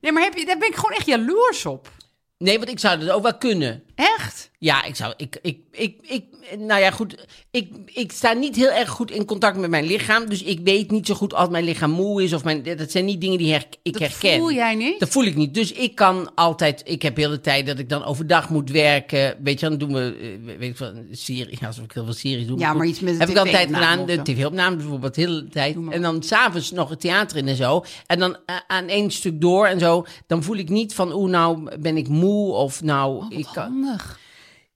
[SPEAKER 2] nee, maar heb je, daar ben ik gewoon echt jaloers op.
[SPEAKER 1] Nee, want ik zou dat ook wel kunnen.
[SPEAKER 2] Echt?
[SPEAKER 1] Ja, ik zou. Ik, ik, ik, ik, nou ja, goed. Ik, ik sta niet heel erg goed in contact met mijn lichaam. Dus ik weet niet zo goed als mijn lichaam moe is. Of mijn, dat zijn niet dingen die her- ik
[SPEAKER 2] Dat
[SPEAKER 1] herken.
[SPEAKER 2] voel jij niet?
[SPEAKER 1] Dat voel ik niet. Dus ik kan altijd. Ik heb heel de tijd dat ik dan overdag moet werken. Weet je, dan doen we. eh, Weet ik veel, een serie. Ja, alsof ik heel veel series doe.
[SPEAKER 2] Ja, maar iets met de
[SPEAKER 1] Heb ik altijd
[SPEAKER 2] TV-opname
[SPEAKER 1] gedaan.
[SPEAKER 2] of
[SPEAKER 1] De
[SPEAKER 2] zo.
[SPEAKER 1] tv-opname bijvoorbeeld, de hele tijd. En dan s'avonds nog het theater in en zo. En dan eh, aan één stuk door en zo. Dan voel ik niet van. Oeh, nou ben ik moe. Of nou. ik kan,
[SPEAKER 2] Oh, Handig.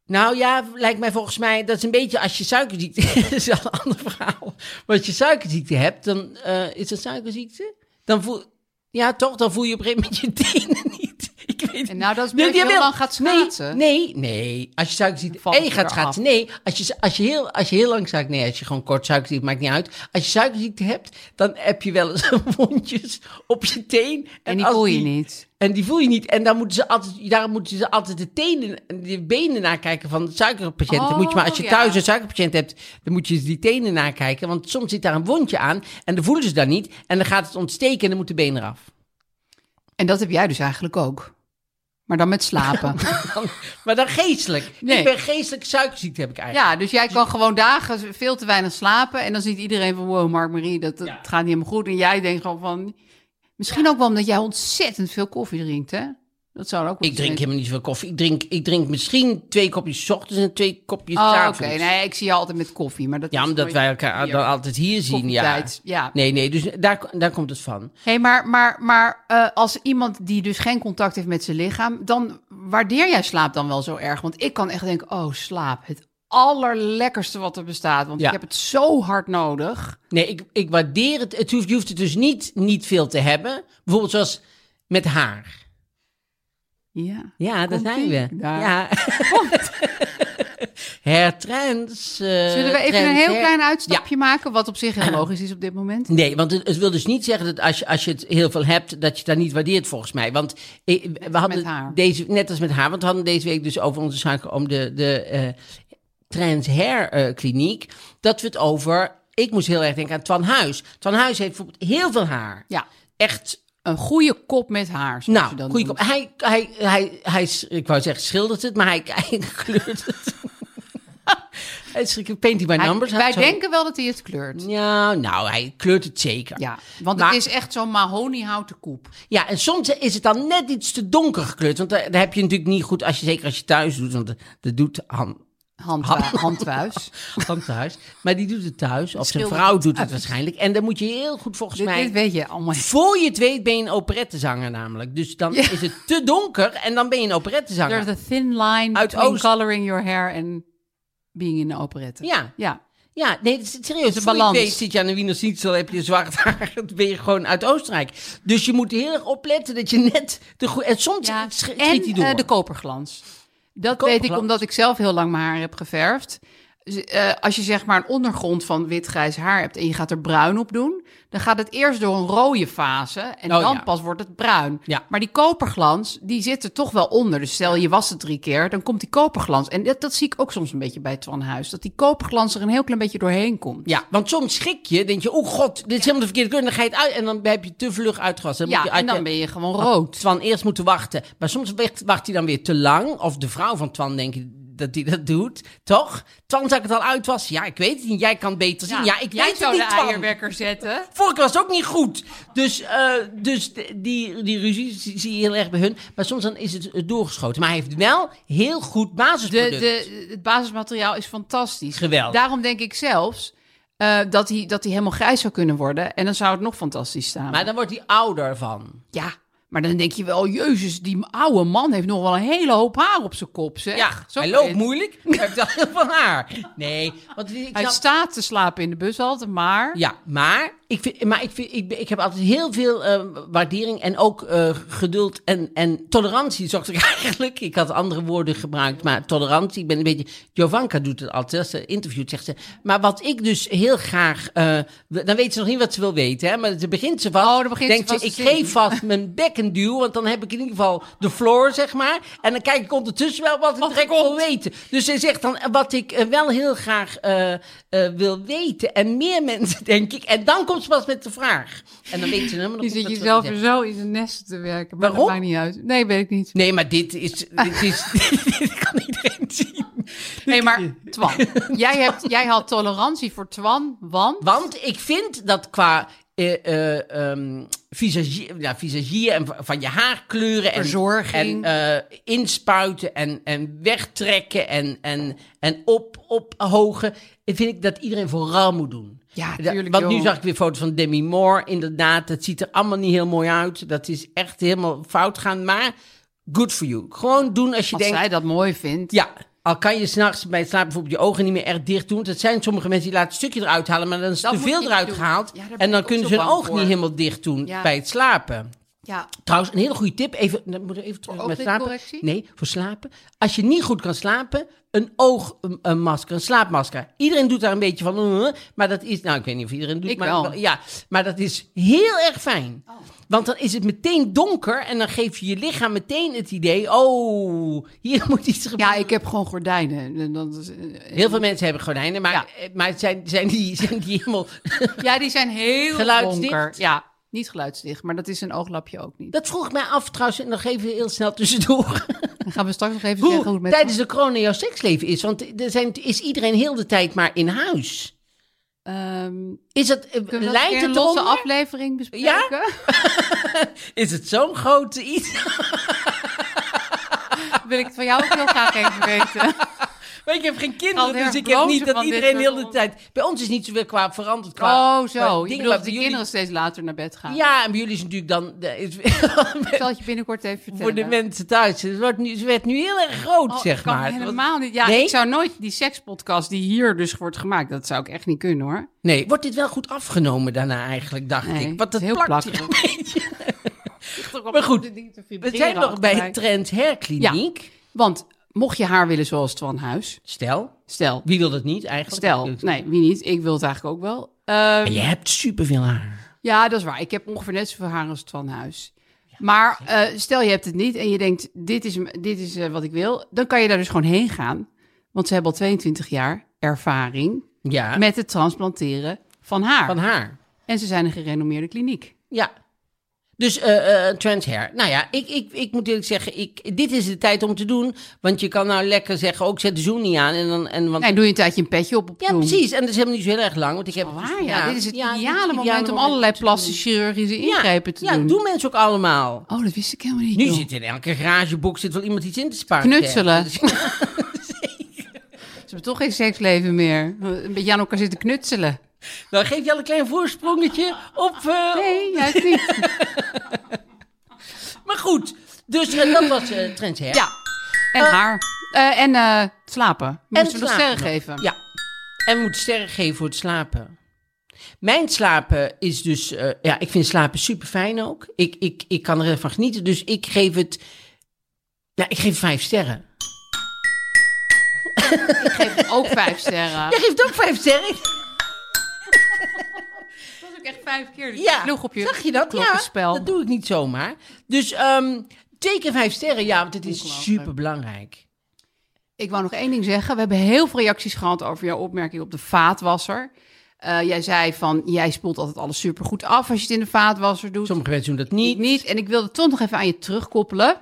[SPEAKER 1] nou ja, lijkt mij volgens mij, dat is een beetje als je suikerziekte, dat is wel een ander verhaal. Maar als je suikerziekte hebt, dan eh, is dat suikerziekte? Dan voel, ja toch, dan voel je op een gegeven moment je tenen niet. Ik weet het
[SPEAKER 2] En nou, dat is
[SPEAKER 1] niet.
[SPEAKER 2] meer als je heel
[SPEAKER 1] jawel.
[SPEAKER 2] lang gaat schaatsen.
[SPEAKER 1] Nee, nee, nee. Als je suikerziekte
[SPEAKER 2] Dan
[SPEAKER 1] en
[SPEAKER 2] valt
[SPEAKER 1] je
[SPEAKER 2] het
[SPEAKER 1] gaat
[SPEAKER 2] eraf.
[SPEAKER 1] schaatsen, nee. Als je, als je, heel, als je heel lang suiker, nee, als je gewoon kort suikerziekte, maakt niet uit. Als je suikerziekte hebt, dan heb je wel eens wondjes op je teen.
[SPEAKER 2] En die
[SPEAKER 1] als
[SPEAKER 2] voel je niet.
[SPEAKER 1] en die voel je niet. En daar moeten ze altijd, daarom moeten ze altijd de, tenen, de benen nakijken van de suikerpatiënten.
[SPEAKER 2] Oh,
[SPEAKER 1] moet je maar als je
[SPEAKER 2] ja.
[SPEAKER 1] thuis een suikerpatiënt hebt, dan moet je die tenen nakijken. Want soms zit daar een wondje aan en dan voelen ze dat niet. En dan gaat het ontsteken en dan moet de been eraf.
[SPEAKER 2] En dat heb jij dus eigenlijk ook. Maar dan met slapen.
[SPEAKER 1] Maar dan geestelijk.
[SPEAKER 2] Nee.
[SPEAKER 1] Ik ben geestelijk suikerziekte heb ik eigenlijk.
[SPEAKER 2] ja, dus jij kan gewoon dagen veel te weinig slapen. En dan ziet iedereen van, wow, Mark-Marie, dat, dat gaat niet helemaal goed. En jij denkt gewoon van... Misschien ook wel omdat jij ontzettend veel koffie drinkt, hè? Dat zou ook wel
[SPEAKER 1] Ik drink
[SPEAKER 2] zijn.
[SPEAKER 1] helemaal niet zoveel koffie. Ik drink, ik drink misschien twee kopjes 's ochtends en twee kopjes
[SPEAKER 2] Oh, oké.
[SPEAKER 1] s'avonds.
[SPEAKER 2] Nee, ik zie je altijd met koffie. Maar dat
[SPEAKER 1] Ja,
[SPEAKER 2] is
[SPEAKER 1] omdat
[SPEAKER 2] nooit
[SPEAKER 1] wij elkaar
[SPEAKER 2] hier.
[SPEAKER 1] dan altijd hier zien. Ja.
[SPEAKER 2] Koffietijd, ja.
[SPEAKER 1] Nee, nee, dus daar, daar komt het van.
[SPEAKER 2] Hé, maar, maar, maar eh, als iemand die dus geen contact heeft met zijn lichaam, dan waardeer jij slaap dan wel zo erg? Want ik kan echt denken, oh, slaap, het allerlekkerste wat er bestaat. Want
[SPEAKER 1] Ja.
[SPEAKER 2] ik heb het zo hard nodig.
[SPEAKER 1] Nee, ik, ik waardeer het. het hoeft, je hoeft het dus niet, niet veel te hebben. Bijvoorbeeld zoals met haar.
[SPEAKER 2] Ja.
[SPEAKER 1] Ja, dat
[SPEAKER 2] Komt
[SPEAKER 1] zijn
[SPEAKER 2] ie?
[SPEAKER 1] we.
[SPEAKER 2] Daar.
[SPEAKER 1] Ja. Hertrends. eh,
[SPEAKER 2] Zullen we even
[SPEAKER 1] trends,
[SPEAKER 2] een heel
[SPEAKER 1] her-
[SPEAKER 2] klein
[SPEAKER 1] Ja.
[SPEAKER 2] uitstapje maken, wat op zich heel logisch is op dit moment?
[SPEAKER 1] Nee, want het, het wil dus niet zeggen dat als je, als je het heel veel hebt, dat je het dan niet waardeert, volgens mij. Want eh, we hadden
[SPEAKER 2] met haar.
[SPEAKER 1] deze, net als met haar, want we hadden deze week dus over onze zaak om de, de eh Trans Hair eh, Kliniek, dat we het over, ik moest heel erg denken aan Twan Huis. Twan Huis heeft bijvoorbeeld heel veel haar.
[SPEAKER 2] Ja.
[SPEAKER 1] Echt
[SPEAKER 2] Een goede kop met haar. zoals
[SPEAKER 1] Nou,
[SPEAKER 2] je dan
[SPEAKER 1] goeie
[SPEAKER 2] noemt.
[SPEAKER 1] kop. Hij, hij, hij, hij, s- ik wou zeggen schildert het, maar hij, hij kleurt het. hij is paint by
[SPEAKER 2] Hij-
[SPEAKER 1] numbers.
[SPEAKER 2] wij
[SPEAKER 1] Zo-
[SPEAKER 2] denken wel dat hij het kleurt. Ja.
[SPEAKER 1] Ja, nou, hij kleurt het zeker.
[SPEAKER 2] want
[SPEAKER 1] Maar-
[SPEAKER 2] het is echt zo'n mahoniehouten koep.
[SPEAKER 1] Ja, en soms is het dan net iets te donker gekleurd. Want daar, daar heb je natuurlijk niet goed, als je, zeker als je thuis doet, want dat- dat doet Han,
[SPEAKER 2] Handwa- handwuis.
[SPEAKER 1] Han thuis. Maar die doet het thuis, of zijn
[SPEAKER 2] Schildert
[SPEAKER 1] vrouw
[SPEAKER 2] het
[SPEAKER 1] doet het
[SPEAKER 2] uit.
[SPEAKER 1] waarschijnlijk. En dan moet je heel goed volgens
[SPEAKER 2] Dit,
[SPEAKER 1] mij...
[SPEAKER 2] dit weet je allemaal.
[SPEAKER 1] Voor je het weet ben je een operettezanger namelijk. Dus dan is het te donker en dan ben je een operettezanger.
[SPEAKER 2] There's a thin line
[SPEAKER 1] Uit
[SPEAKER 2] between
[SPEAKER 1] Oost.
[SPEAKER 2] coloring your hair and being in de operette.
[SPEAKER 1] Ja.
[SPEAKER 2] ja.
[SPEAKER 1] Ja, nee, het is serieus.
[SPEAKER 2] is een
[SPEAKER 1] Voor je
[SPEAKER 2] balans.
[SPEAKER 1] weet zit je aan de Wiener Schnitzel, heb je zwart haar, dan ben je gewoon uit Oostenrijk. Dus je moet heel erg opletten dat je net de goede... En soms
[SPEAKER 2] Ja,
[SPEAKER 1] sch- schiet
[SPEAKER 2] en
[SPEAKER 1] die door.
[SPEAKER 2] eh, de koperglans. Dat weet ik
[SPEAKER 1] koperglans.
[SPEAKER 2] omdat ik zelf heel lang mijn haar heb geverfd. Dus, eh, als je zeg maar een ondergrond van wit-grijs haar hebt en je gaat er bruin op doen, dan gaat het eerst door een rode fase en
[SPEAKER 1] Oh,
[SPEAKER 2] dan
[SPEAKER 1] ja.
[SPEAKER 2] pas wordt het bruin.
[SPEAKER 1] Ja.
[SPEAKER 2] Maar die koperglans, die zit er toch wel onder. Dus stel je was het drie keer, dan komt die koperglans. En dat, dat zie ik ook soms een beetje bij Twan Huis, dat die koperglans er een heel klein beetje doorheen komt.
[SPEAKER 1] Ja, want soms schrik je, denk je, oh god, dit is helemaal de verkeerde kleur. En dan ga je het uit en dan heb je te vlug uitgewassen. Dan
[SPEAKER 2] Ja,
[SPEAKER 1] moet je
[SPEAKER 2] en
[SPEAKER 1] uit
[SPEAKER 2] dan
[SPEAKER 1] je-
[SPEAKER 2] ben je gewoon rood.
[SPEAKER 1] Twan eerst moeten wachten. Maar soms wacht, wacht hij dan weer te lang. Of de vrouw van Twan denkt dat hij dat doet. Toch? Twan, zou ik het al uitwassen? Ja, ik weet het niet. Jij kan het beter zien. Ja, ik
[SPEAKER 2] Jij
[SPEAKER 1] weet het
[SPEAKER 2] zou
[SPEAKER 1] niet,
[SPEAKER 2] de
[SPEAKER 1] Twan.
[SPEAKER 2] eierwekker zetten.
[SPEAKER 1] Vorige keer was het ook niet goed. Dus, eh, dus de- die, die ruzie zie zie je heel erg bij hun. Maar soms dan is het eh, doorgeschoten. Maar hij heeft wel heel goed
[SPEAKER 2] De,
[SPEAKER 1] basisproduct.
[SPEAKER 2] de, het basismateriaal is fantastisch.
[SPEAKER 1] Geweldig.
[SPEAKER 2] Daarom denk ik zelfs eh, dat, hij, dat hij helemaal grijs zou kunnen worden. En dan zou het nog fantastisch staan.
[SPEAKER 1] Maar dan wordt hij ouder van.
[SPEAKER 2] ja, maar dan denk je wel, jezus, die oude man heeft nog wel een hele hoop haar op zijn kop. Zeg.
[SPEAKER 1] Ja,
[SPEAKER 2] Zo eh.
[SPEAKER 1] hij loopt
[SPEAKER 2] fit.
[SPEAKER 1] moeilijk. maar Hij heeft wel heel veel haar. Nee, want ik
[SPEAKER 2] Hij
[SPEAKER 1] snap-
[SPEAKER 2] staat te slapen in de bus altijd, maar...
[SPEAKER 1] Ja, maar ik, vind, maar ik, vind, ik, ben- ik heb altijd heel veel eh, waardering en ook eh, geduld en, en tolerantie zocht ik eigenlijk. Ik had andere woorden gebruikt, maar tolerantie. Ik ben een beetje... Jovanka doet het altijd, als ze interviewt, zegt ze. Maar wat ik dus heel graag... eh, w- dan weet ze nog niet wat ze wil weten, hè. Maar dan begint ze vast.
[SPEAKER 2] Oh, dan begint ze
[SPEAKER 1] denkt
[SPEAKER 2] vast
[SPEAKER 1] ik
[SPEAKER 2] te zingen.
[SPEAKER 1] geef vast mijn bek een duw, want dan heb ik in ieder geval de floor, zeg maar. En dan kijk ik ondertussen wel wat ik direct wil weten. Dus zij zegt dan eh, wat ik eh, wel heel graag eh, eh, wil weten. En meer mensen, denk ik. En dan komt ze pas met de vraag. En dan weet ze helemaal nog niet
[SPEAKER 2] Je zit
[SPEAKER 1] wat ze
[SPEAKER 2] jezelf
[SPEAKER 1] wil
[SPEAKER 2] weer
[SPEAKER 1] zeggen.
[SPEAKER 2] zo in zijn nest te werken. Maar
[SPEAKER 1] Waarom?
[SPEAKER 2] Dat maakt niet uit. Nee, weet ik niet.
[SPEAKER 1] Nee, maar dit is... Dit, is, dit kan iedereen zien.
[SPEAKER 2] Nee, maar Twan, jij, hebt, jij had tolerantie voor Twan, want...
[SPEAKER 1] Want ik vind dat qua eh eh, ehm, visagie, ja, visagie en va- van je haarkleuren en, en
[SPEAKER 2] Verzorging.
[SPEAKER 1] eh, inspuiten en, en wegtrekken en, en, en op, ophogen, eh, vind ik dat iedereen vooral moet doen.
[SPEAKER 2] Ja,
[SPEAKER 1] Da-
[SPEAKER 2] tuurlijk,
[SPEAKER 1] Want nu
[SPEAKER 2] joh.
[SPEAKER 1] zag ik weer foto's van Demi Moore. Inderdaad, dat ziet er allemaal niet heel mooi uit. Dat is echt helemaal fout gaan. Maar good for you. Gewoon doen als je
[SPEAKER 2] Als
[SPEAKER 1] denkt.
[SPEAKER 2] zij dat mooi vindt.
[SPEAKER 1] Ja, al kan je s'nachts bij het slapen bijvoorbeeld je ogen niet meer echt dicht doen. Dat zijn sommige mensen die laten een stukje eruit halen, maar dan is
[SPEAKER 2] Dat
[SPEAKER 1] te
[SPEAKER 2] moet
[SPEAKER 1] veel
[SPEAKER 2] je
[SPEAKER 1] eruit
[SPEAKER 2] doen.
[SPEAKER 1] gehaald.
[SPEAKER 2] Ja, daar ben
[SPEAKER 1] en dan
[SPEAKER 2] ik ook
[SPEAKER 1] kunnen
[SPEAKER 2] zo
[SPEAKER 1] ze hun
[SPEAKER 2] bang
[SPEAKER 1] ogen
[SPEAKER 2] voor.
[SPEAKER 1] niet helemaal dicht doen
[SPEAKER 2] Ja.
[SPEAKER 1] bij het slapen.
[SPEAKER 2] ja.
[SPEAKER 1] Trouwens, een hele goede tip. Even, dan moet ik even terug
[SPEAKER 2] Voor
[SPEAKER 1] met slapen.
[SPEAKER 2] ooglidcorrectie?
[SPEAKER 1] Nee, voor slapen. Als je niet goed kan slapen, een oogmasker, een, masker, een slaapmasker. Iedereen doet daar een beetje van. eh, Maar dat is, nou, ik weet niet of iedereen doet.
[SPEAKER 2] Ik
[SPEAKER 1] maar,
[SPEAKER 2] wel. Oh.
[SPEAKER 1] Ja, maar dat is heel erg fijn. Want dan is het meteen donker en dan geef je je lichaam meteen het idee, oh, hier moet iets gebeuren.
[SPEAKER 2] Ja, ik heb gewoon gordijnen. En dat is-
[SPEAKER 1] Heel veel mensen hebben gordijnen, maar,
[SPEAKER 2] Ja.
[SPEAKER 1] eh, maar zijn, zijn, die, zijn die helemaal...
[SPEAKER 2] Ja, die zijn heel
[SPEAKER 1] Geluidsdicht?
[SPEAKER 2] donker. Ja, niet geluidsdicht, maar dat is een ooglapje ook niet.
[SPEAKER 1] Dat vroeg ik mij af trouwens, en nog even heel snel tussendoor.
[SPEAKER 2] Dan gaan we straks nog even
[SPEAKER 1] Hoe
[SPEAKER 2] zeggen hoe het met...
[SPEAKER 1] tijdens de corona jouw seksleven is, want er zijn, is iedereen heel de tijd maar in huis.
[SPEAKER 2] Ehm,
[SPEAKER 1] Is het, eh,
[SPEAKER 2] kunnen we dat een
[SPEAKER 1] lijkt
[SPEAKER 2] keer een
[SPEAKER 1] het
[SPEAKER 2] losse
[SPEAKER 1] eronder?
[SPEAKER 2] aflevering bespreken?
[SPEAKER 1] Is het zo'n grote iets?
[SPEAKER 2] Wil ik het van jou ook heel graag even weten.
[SPEAKER 1] Maar ik heb geen
[SPEAKER 2] Al
[SPEAKER 1] kinderen,
[SPEAKER 2] heel
[SPEAKER 1] dus ik heb
[SPEAKER 2] blozen
[SPEAKER 1] niet dat
[SPEAKER 2] van dit
[SPEAKER 1] iedereen
[SPEAKER 2] soort
[SPEAKER 1] heel de
[SPEAKER 2] on-
[SPEAKER 1] tijd... Bij ons is niet zoveel qua veranderd. Qua,
[SPEAKER 2] Oh,
[SPEAKER 1] qua
[SPEAKER 2] zo. Ik bedoel
[SPEAKER 1] maar
[SPEAKER 2] dat de
[SPEAKER 1] bij jullie-
[SPEAKER 2] kinderen steeds later naar bed gaan.
[SPEAKER 1] Ja, en bij jullie is natuurlijk dan... eh, Is,
[SPEAKER 2] Ik zal het je binnenkort even vertellen.
[SPEAKER 1] voor de mensen thuis. Het, wordt nu, het werd nu heel erg groot,
[SPEAKER 2] Oh,
[SPEAKER 1] zeg
[SPEAKER 2] ik kan
[SPEAKER 1] maar. Het was-
[SPEAKER 2] helemaal niet. Ja,
[SPEAKER 1] Nee?
[SPEAKER 2] ik zou nooit die sekspodcast die hier dus wordt gemaakt, dat zou ik echt niet kunnen hoor.
[SPEAKER 1] Nee, wordt dit wel goed afgenomen daarna eigenlijk, dacht
[SPEAKER 2] Nee,
[SPEAKER 1] ik. Want dat
[SPEAKER 2] heel
[SPEAKER 1] plakt
[SPEAKER 2] plakkerig.
[SPEAKER 1] hier een beetje. Maar goed, we zijn nog bij het Trends Hairkliniek.
[SPEAKER 2] Want mocht je haar willen zoals Twan Huis,
[SPEAKER 1] Stel,
[SPEAKER 2] stel,
[SPEAKER 1] wie wil dat niet eigenlijk?
[SPEAKER 2] stel, nee, wie niet, ik wil het eigenlijk ook wel. Ehm,
[SPEAKER 1] Maar je hebt superveel haar.
[SPEAKER 2] Ja, dat is waar. Ik heb ongeveer net zoveel haar als Twan Huis. Maar eh, stel je hebt het niet en je denkt, dit is, m- dit is eh, wat ik wil. Dan kan je daar dus gewoon heen gaan. Want ze hebben al 22 jaar ervaring
[SPEAKER 1] Ja,
[SPEAKER 2] met het transplanteren van haar.
[SPEAKER 1] van haar.
[SPEAKER 2] En ze zijn een gerenommeerde kliniek.
[SPEAKER 1] Ja. Dus eh eh Trends Hair. Nou ja, ik, ik, ik moet eerlijk zeggen, ik, dit is de tijd om te doen. Want je kan nou lekker zeggen, ook zet de zoen niet aan. En dan, en, want,
[SPEAKER 2] En doe je een tijdje een petje op op
[SPEAKER 1] ja,
[SPEAKER 2] doen.
[SPEAKER 1] precies. En dat is helemaal niet zo heel erg lang. Want ik heb het
[SPEAKER 2] Waar
[SPEAKER 1] dus
[SPEAKER 2] ja,
[SPEAKER 1] gedaan.
[SPEAKER 2] dit is het
[SPEAKER 1] Ja, dit is
[SPEAKER 2] ideale moment om allerlei plastische chirurgische
[SPEAKER 1] Ja,
[SPEAKER 2] ingrepen te
[SPEAKER 1] Ja,
[SPEAKER 2] doen.
[SPEAKER 1] doen mensen ook allemaal.
[SPEAKER 2] Oh, dat wist ik helemaal niet.
[SPEAKER 1] Nu
[SPEAKER 2] joh.
[SPEAKER 1] zit in elke garagebox zit wel iemand iets in te sparen.
[SPEAKER 2] Knutselen.
[SPEAKER 1] Dus-
[SPEAKER 2] Ze hebben toch geen seksleven meer. Een beetje aan elkaar zitten knutselen.
[SPEAKER 1] Dan Nou, geef je al een klein voorsprongetje op. eh,
[SPEAKER 2] Nee, juist niet.
[SPEAKER 1] Maar goed, dus eh, dat was eh Trends Hair.
[SPEAKER 2] Ja. En haar. Eh, en eh, slapen. Moeten we nog
[SPEAKER 1] slapen
[SPEAKER 2] sterren
[SPEAKER 1] nog.
[SPEAKER 2] geven?
[SPEAKER 1] Ja. En we moeten sterren geven voor het slapen. Mijn slapen is dus... eh, ja, ik vind slapen super fijn ook. Ik, ik, ik kan er van genieten. Dus ik geef het... Ja, ik geef vijf sterren.
[SPEAKER 2] Ik geef hem ook vijf sterren.
[SPEAKER 1] Jij geeft ook vijf sterren.
[SPEAKER 2] Dat was ook echt vijf keer. Dus
[SPEAKER 1] Ja,
[SPEAKER 2] je sloeg op je
[SPEAKER 1] zag je dat?
[SPEAKER 2] klokkenspel.
[SPEAKER 1] Ja, dat doe ik niet zomaar. Dus ehm twee keer vijf sterren, ja, want het is super belangrijk.
[SPEAKER 2] Ik wou nog één ding zeggen. We hebben heel veel reacties gehad over jouw opmerking op de vaatwasser. Eh, jij zei van, jij spoelt altijd alles supergoed af als je het in de vaatwasser doet.
[SPEAKER 1] Sommige mensen doen dat
[SPEAKER 2] niet.
[SPEAKER 1] niet.
[SPEAKER 2] niet. En ik wilde toch nog even aan je terugkoppelen.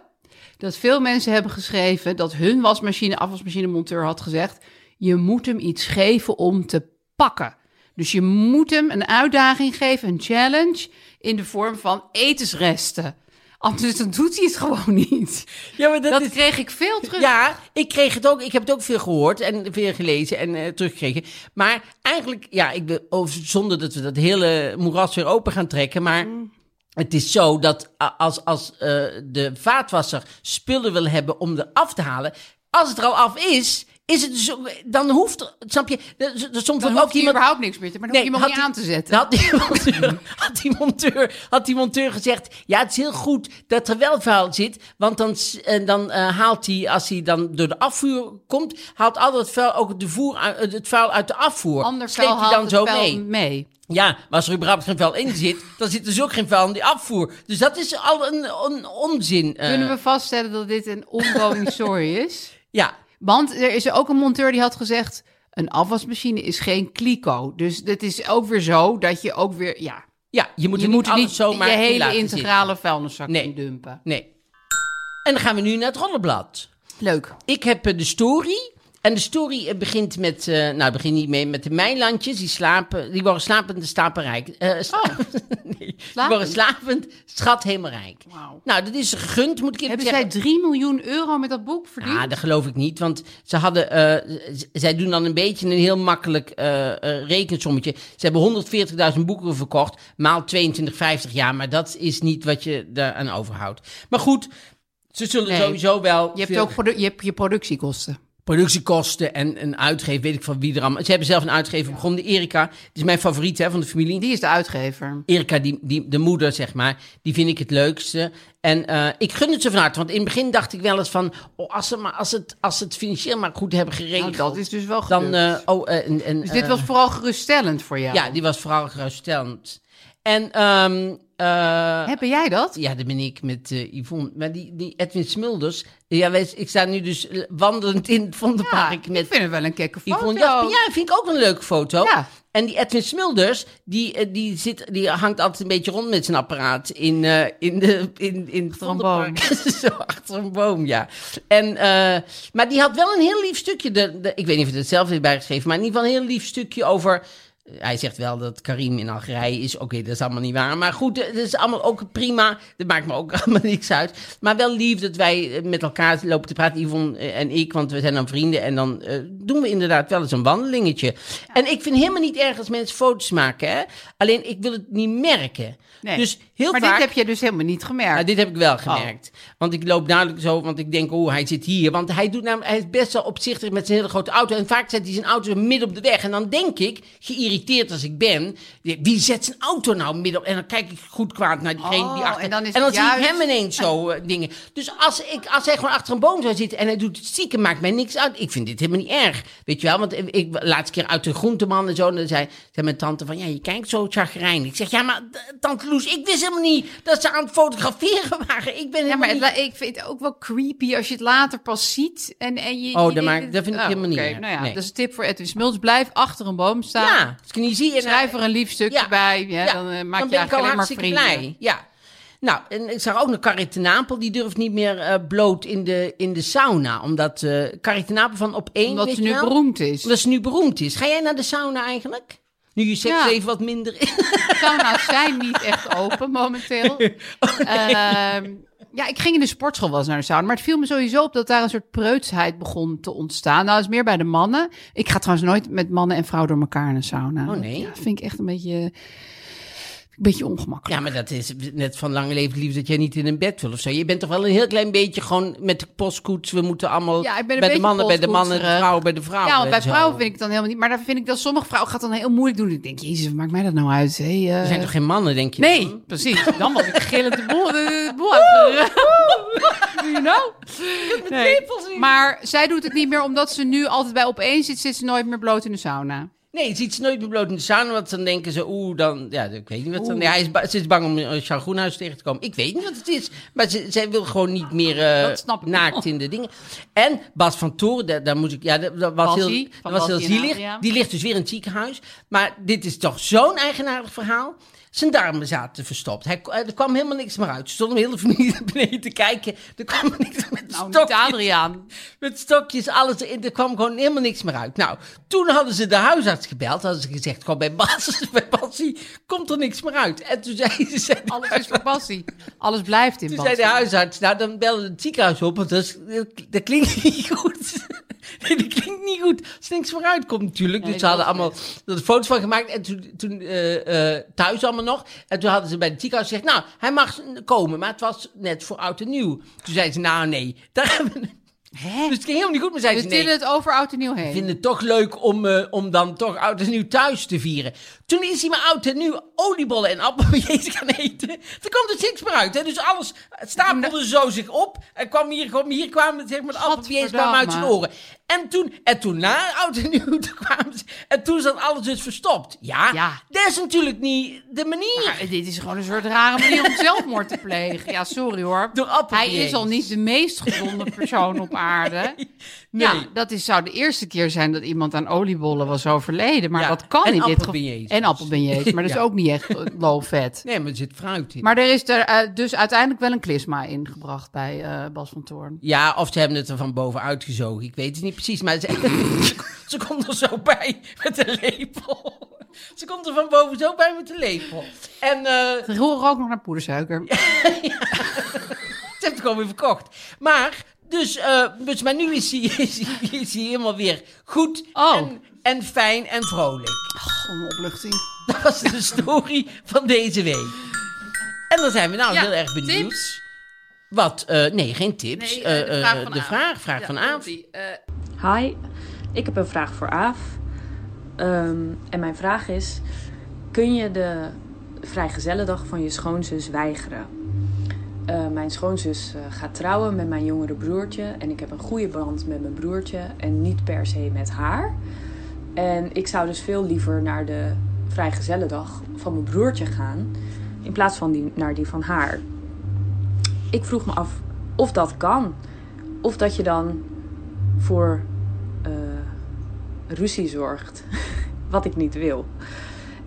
[SPEAKER 2] Dat veel mensen hebben geschreven dat hun wasmachine, afwasmachine monteur had gezegd... je moet hem iets geven om te pakken. Dus je moet hem een uitdaging geven, een challenge... in de vorm van etensresten. Anders dan doet hij het gewoon niet.
[SPEAKER 1] Ja, maar
[SPEAKER 2] Dat kreeg ik veel terug.
[SPEAKER 1] Ja, ik kreeg het ook. Ik heb het ook veel gehoord en veel gelezen en eh, teruggekregen. Maar eigenlijk, ja, ik ben, oh, zonder dat we dat hele moeras weer open gaan trekken, maar.
[SPEAKER 2] Mm.
[SPEAKER 1] Het is zo dat a- als, als eh, de vaatwasser spullen wil hebben om er af te halen, als het er al af is, is het dus, ook- dan hoeft er, snap je, er- er- er- soms
[SPEAKER 2] Dan
[SPEAKER 1] wordt
[SPEAKER 2] hoeft
[SPEAKER 1] ook
[SPEAKER 2] hij
[SPEAKER 1] iemand
[SPEAKER 2] überhaupt niks meer te... Maar dan hoef je hem ook
[SPEAKER 1] had
[SPEAKER 2] niet aan te
[SPEAKER 1] die-
[SPEAKER 2] zetten.
[SPEAKER 1] Had die, monteur, had, die monteur, had die monteur gezegd: Ja, het is heel goed dat er wel vuil zit. Want dan, s- eh, dan eh, haalt hij, als hij dan door de afvoer komt, haalt al dat vuil ook de voer, uit- eh, het vuil uit de afvoer.
[SPEAKER 2] Ander
[SPEAKER 1] Sleept
[SPEAKER 2] vuil
[SPEAKER 1] hij
[SPEAKER 2] haalt
[SPEAKER 1] dan
[SPEAKER 2] het
[SPEAKER 1] zo
[SPEAKER 2] vuil
[SPEAKER 1] mee.
[SPEAKER 2] mee.
[SPEAKER 1] Ja, maar als er überhaupt geen vuil in zit, dan zit dus ook geen vuil in die afvoer. Dus dat is al een, een onzin. eh.
[SPEAKER 2] Kunnen we vaststellen dat dit een ongoing story is?
[SPEAKER 1] Ja.
[SPEAKER 2] Want er is ook een monteur die had gezegd... een afwasmachine is geen kliko. Dus het is ook weer zo dat je ook weer... Ja,
[SPEAKER 1] Ja, je moet
[SPEAKER 2] je
[SPEAKER 1] er
[SPEAKER 2] moet
[SPEAKER 1] niet
[SPEAKER 2] er
[SPEAKER 1] alles
[SPEAKER 2] niet
[SPEAKER 1] zomaar
[SPEAKER 2] je
[SPEAKER 1] in
[SPEAKER 2] hele
[SPEAKER 1] laten
[SPEAKER 2] integrale vuilniszak
[SPEAKER 1] Nee.
[SPEAKER 2] in dumpen.
[SPEAKER 1] zitten. Nee. En dan gaan we nu naar het rollenblad.
[SPEAKER 2] Leuk.
[SPEAKER 1] Ik heb eh, de story. En de story eh, begint met, eh, nou, het begint niet mee, met de mijnlandjes. Die slapen, die worden slapend stapenrijk.
[SPEAKER 2] Oh.
[SPEAKER 1] Eh sta- nee, die worden slapend schat helemaal rijk.
[SPEAKER 2] Wauw.
[SPEAKER 1] Nou, dat is gegund, moet ik even
[SPEAKER 2] Hebben
[SPEAKER 1] zeggen.
[SPEAKER 2] zij 3 miljoen euro met dat boek verdiend?
[SPEAKER 1] Ja, Ah, dat geloof ik niet, want ze hadden, eh, z- zij doen dan een beetje een heel makkelijk eh, eh, rekensommetje. Ze hebben 140.000 boeken verkocht, maal 22,50 jaar, maar dat is niet wat je daaraan overhoudt. Maar goed, ze zullen
[SPEAKER 2] Nee.
[SPEAKER 1] sowieso wel...
[SPEAKER 2] je, hebt
[SPEAKER 1] veel-
[SPEAKER 2] ook produ- je hebt je productiekosten.
[SPEAKER 1] productiekosten en een uitgever, weet ik van wie er allemaal. Ze hebben zelf een uitgever begonnen, Erika. Het is mijn favoriet hè, van de familie.
[SPEAKER 2] Die is de uitgever. Nou,
[SPEAKER 1] Erika, die, die, de moeder, zeg maar, die vind ik het leukste. En eh, ik gun het ze van harte. Want in het begin dacht ik wel eens van... Oh, als, ze maar, als, het, als ze het financieel maar goed hebben
[SPEAKER 2] Nou,
[SPEAKER 1] geregeld...
[SPEAKER 2] dat is dus wel
[SPEAKER 1] dan,
[SPEAKER 2] gelukt.
[SPEAKER 1] eh, oh, eh, en, en,
[SPEAKER 2] dus dit
[SPEAKER 1] eh,
[SPEAKER 2] was vooral geruststellend voor jou.
[SPEAKER 1] Ja, die was vooral geruststellend. En ehm, eh,
[SPEAKER 2] Hebben jij dat?
[SPEAKER 1] ja, dat ben ik met eh, Yvonne. Maar die, die Edwin Smulders... Ja, wij, ik sta nu dus eh, wandelend in het Vondelpark
[SPEAKER 2] Ah, ik
[SPEAKER 1] met
[SPEAKER 2] vind het wel een kekke foto.
[SPEAKER 1] Yvonne Jasper. Ja, vind ik ook een leuke foto.
[SPEAKER 2] Ja.
[SPEAKER 1] En die Edwin Smulders, die, eh, die, zit, die hangt altijd een beetje rond met zijn apparaat in, eh, in, de, in, in het
[SPEAKER 2] Achter een
[SPEAKER 1] Vondelpark. Zo achter een boom, ja. En, eh, maar die had wel een heel lief stukje, de, de- ik weet niet of het het zelf heeft bijgeschreven, maar in ieder geval een heel lief stukje over... Hij zegt wel dat Karim in Algerije is. Oké, dat is allemaal niet waar. Maar goed, eh, dat is allemaal ook prima. Dat maakt me ook allemaal niks uit. Maar wel lief dat wij eh, met elkaar lopen te praten, Yvonne eh, en ik. Want we zijn dan vrienden. En dan eh, doen we inderdaad wel eens een wandelingetje. En ik vind helemaal niet erg als mensen foto's maken. Hè? Alleen ik wil het niet merken.
[SPEAKER 2] Nee.
[SPEAKER 1] Dus heel
[SPEAKER 2] maar
[SPEAKER 1] vaak...
[SPEAKER 2] dit heb je dus helemaal niet gemerkt.
[SPEAKER 1] Ja, dit heb ik
[SPEAKER 2] Oh.
[SPEAKER 1] wel gemerkt. Want ik loop duidelijk zo, want ik denk, oh, hij zit hier. Want hij, doet namelijk, hij is best wel opzichtig met zijn hele grote auto. En vaak zet hij zijn auto midden op de weg. En dan denk ik, geïrriteerd als ik ben, wie zet zijn auto nou midden op? En dan kijk ik goed kwaad naar diegene
[SPEAKER 2] Oh,
[SPEAKER 1] die achter...
[SPEAKER 2] en dan is het
[SPEAKER 1] zie ik
[SPEAKER 2] juist-
[SPEAKER 1] hem ineens zo eh, dingen. Dus als, ik, als hij gewoon achter een boom zou zitten en hij doet het stiekem, maakt mij niks uit. Ik vind dit helemaal niet erg. Weet je wel, want ik, ik laatste keer uit de groenteman en zo, en dan zei, zei mijn tante van, ja, je kijkt zo chagrijnig. Ik zeg, ja, maar eh, tante Loes, ik wist helemaal niet dat ze aan het fotograferen waren. Ik ben
[SPEAKER 2] Ja,
[SPEAKER 1] helemaal
[SPEAKER 2] maar het,
[SPEAKER 1] niet...
[SPEAKER 2] la- ik vind het ook wel creepy als je het later pas ziet. En, en je,
[SPEAKER 1] Oh,
[SPEAKER 2] je
[SPEAKER 1] dat
[SPEAKER 2] denkt-
[SPEAKER 1] maakt- dat vind ik
[SPEAKER 2] Oh,
[SPEAKER 1] helemaal niet
[SPEAKER 2] oké.
[SPEAKER 1] erg.
[SPEAKER 2] Nou ja,
[SPEAKER 1] Nee.
[SPEAKER 2] dat is een tip voor Edwin Smulders. Blijf achter een boom staan.
[SPEAKER 1] Ja, als ik niet zie... en-
[SPEAKER 2] Schrijf er een lief stukje
[SPEAKER 1] Ja.
[SPEAKER 2] bij. Ja,
[SPEAKER 1] Ja,
[SPEAKER 2] Dan eh, maak je
[SPEAKER 1] ben ik al
[SPEAKER 2] eigenlijk alleen maar
[SPEAKER 1] hartstikke
[SPEAKER 2] vrienden.
[SPEAKER 1] blij. Ja. Nou, en ik zag ook nog Carrie ten Apel. Die durft niet meer eh, bloot in de, in de sauna. Omdat eh Carrie ten Apel van op één...
[SPEAKER 2] Omdat
[SPEAKER 1] weet
[SPEAKER 2] ze
[SPEAKER 1] je
[SPEAKER 2] nu
[SPEAKER 1] wel?
[SPEAKER 2] beroemd is.
[SPEAKER 1] Omdat ze nu beroemd is. Ga jij naar de sauna eigenlijk? Nu je seksleven even wat minder is.
[SPEAKER 2] Sauna's nou zijn niet echt open momenteel. Ehm, ja, ik ging in de sportschool wel eens naar de sauna. Maar het viel me sowieso op dat daar een soort preutsheid begon te ontstaan. Nou, dat is meer bij de mannen. Ik ga trouwens nooit met mannen en vrouwen door elkaar in een sauna.
[SPEAKER 1] Oh, nee?
[SPEAKER 2] Ja, vind ik echt een beetje... Vind Beetje ongemakkelijk.
[SPEAKER 1] Ja, maar dat is net van lange leven liefde dat jij niet in een bed wil of zo. Je bent toch wel een heel klein beetje gewoon met de postkoets. We moeten allemaal
[SPEAKER 2] Ja, ik ben een
[SPEAKER 1] bij de
[SPEAKER 2] beetje
[SPEAKER 1] mannen, bij de mannen,
[SPEAKER 2] postkoetserig.
[SPEAKER 1] vrouwen, bij de vrouwen.
[SPEAKER 2] Ja, want bij
[SPEAKER 1] en zo.
[SPEAKER 2] vrouwen vind ik het dan helemaal niet. Maar daar vind ik dat sommige vrouwen gaat dan heel moeilijk doen. Ik denk, jezus, wat maakt mij dat nou uit? Hé, eh,
[SPEAKER 1] Er zijn toch geen mannen, denk je?
[SPEAKER 2] Nee, precies. Dan was ik gillend de boel, de, de boel uitgeruimd. You know? Nee. Maar zij doet het niet meer omdat ze nu altijd bij opeen zit. Zit ze nooit meer bloot in de sauna.
[SPEAKER 1] Nee, je ziet ze nooit meer bloot in de sauna, want dan denken ze, oeh, dan, ja, ik weet niet wat dan. Ja, hij is ba- ze is bang om een chargoenhuis tegen te komen. Ik weet niet wat het is, maar ze, zij wil gewoon niet meer eh,
[SPEAKER 2] Dat snap ik
[SPEAKER 1] naakt
[SPEAKER 2] wel.
[SPEAKER 1] in de dingen. En Bas van Toren, daar, daar moet ik, ja, dat, dat was
[SPEAKER 2] Basie,
[SPEAKER 1] heel,
[SPEAKER 2] van
[SPEAKER 1] dat was heel
[SPEAKER 2] Basie en
[SPEAKER 1] zielig.
[SPEAKER 2] Adriaan.
[SPEAKER 1] Die ligt dus weer in het ziekenhuis, maar dit is toch zo'n eigenaardig verhaal. Zijn darmen zaten verstopt. Hij, er kwam helemaal niks meer uit. Ze stonden heel de familie naar beneden te kijken. Er kwam niks met
[SPEAKER 2] Nou, niet
[SPEAKER 1] stokjes.
[SPEAKER 2] Adriaan.
[SPEAKER 1] Met stokjes, alles erin. Er kwam gewoon helemaal niks meer uit. Nou, toen hadden ze de huisarts gebeld. Hadden ze gezegd, gewoon bij Bas, bij Bassie komt er niks meer uit. En toen zei, ze- zei, de,
[SPEAKER 2] Alles is voor Bassie. Alles blijft in
[SPEAKER 1] toen zei
[SPEAKER 2] Bassie.
[SPEAKER 1] de huisarts, nou dan bellen we het ziekenhuis op. Want dat, is- dat klinkt niet goed. Nee, dat klinkt niet goed. Als er niks meer uitkomt natuurlijk.
[SPEAKER 2] Nee,
[SPEAKER 1] dus ze hadden
[SPEAKER 2] dat is
[SPEAKER 1] allemaal er foto's van gemaakt. En toen, toen eh, eh, thuis allemaal nog. En toen hadden ze bij het ziekenhuis gezegd, nou, hij mag komen. Maar het was net voor oud en nieuw. Toen zei ze, nou nee, daar hebben we... Dus het ging helemaal niet goed, maar zei
[SPEAKER 2] Dus
[SPEAKER 1] ze
[SPEAKER 2] dit
[SPEAKER 1] nee.
[SPEAKER 2] het over oud en nieuw heen.
[SPEAKER 1] Ik vind het toch leuk om, eh, om dan toch oud en nieuw thuis te vieren. Toen is hij maar oud en nieuw oliebollen en appelbillets gaan eten. Er komt er niks meer uit. Hè? Dus alles stapelde zo zich op. En kwam hier, kwam hier kwamen zeg maar, appelbillets kwamen uit zijn
[SPEAKER 2] Gadverdamme.
[SPEAKER 1] oren. En toen, en toen na oud en nieuw toen kwamen ze, En toen zat alles dus verstopt. Ja,
[SPEAKER 2] Ja.
[SPEAKER 1] dat is natuurlijk niet de manier.
[SPEAKER 2] Maar eh, dit is gewoon een soort rare manier om zelfmoord te plegen. Ja, sorry hoor.
[SPEAKER 1] Door appel
[SPEAKER 2] Hij
[SPEAKER 1] niet
[SPEAKER 2] is al
[SPEAKER 1] eens.
[SPEAKER 2] niet de meest gezonde persoon op aarde. Ja,
[SPEAKER 1] nee.
[SPEAKER 2] dat is, zou de eerste keer zijn dat iemand aan oliebollen was overleden. Maar
[SPEAKER 1] Ja,
[SPEAKER 2] dat kan
[SPEAKER 1] en
[SPEAKER 2] in dit
[SPEAKER 1] appelbeignets.
[SPEAKER 2] En appelbeignets, maar dat is
[SPEAKER 1] Ja.
[SPEAKER 2] ook niet echt eh, low fat.
[SPEAKER 1] Nee, maar er zit fruit in.
[SPEAKER 2] Maar er is er eh, dus uiteindelijk wel een klisma ingebracht bij eh, Bas van Toorn.
[SPEAKER 1] Ja, of ze hebben het er van bovenuit gezogen. Ik weet het niet precies, maar ze, ze, ze komt er zo bij met een lepel. Ze komt er van boven zo bij met een lepel. En eh,
[SPEAKER 2] Ze roeren ook nog naar poedersuiker.
[SPEAKER 1] ze heeft het gewoon weer verkocht. Maar, dus, eh, dus maar nu is hij, is, hij, is hij helemaal weer goed
[SPEAKER 2] Oh.
[SPEAKER 1] en, en fijn en vrolijk.
[SPEAKER 2] Goh, een opluchting.
[SPEAKER 1] Dat was de story van deze week. En dan zijn we nou
[SPEAKER 2] Ja,
[SPEAKER 1] heel erg benieuwd.
[SPEAKER 2] tips?
[SPEAKER 1] Wat? eh, nee, geen tips.
[SPEAKER 2] Nee,
[SPEAKER 1] Eh,
[SPEAKER 2] eh, de
[SPEAKER 1] eh,
[SPEAKER 2] vraag Eh, van
[SPEAKER 1] de
[SPEAKER 2] Aaf.
[SPEAKER 1] vraag, vraag van Aaf.
[SPEAKER 3] Hi, ik heb een vraag voor Aaf. Ehm, en mijn vraag is: kun je de vrijgezellendag van je schoonzus weigeren? Eh, mijn schoonzus eh, gaat trouwen met mijn jongere broertje en ik heb een goede band met mijn broertje en niet per se met haar. En ik zou dus veel liever naar de vrijgezellendag van mijn broertje gaan in plaats van die, naar die van haar. Ik vroeg me af of dat kan. Of dat je dan voor eh, ruzie zorgt. Wat ik niet wil.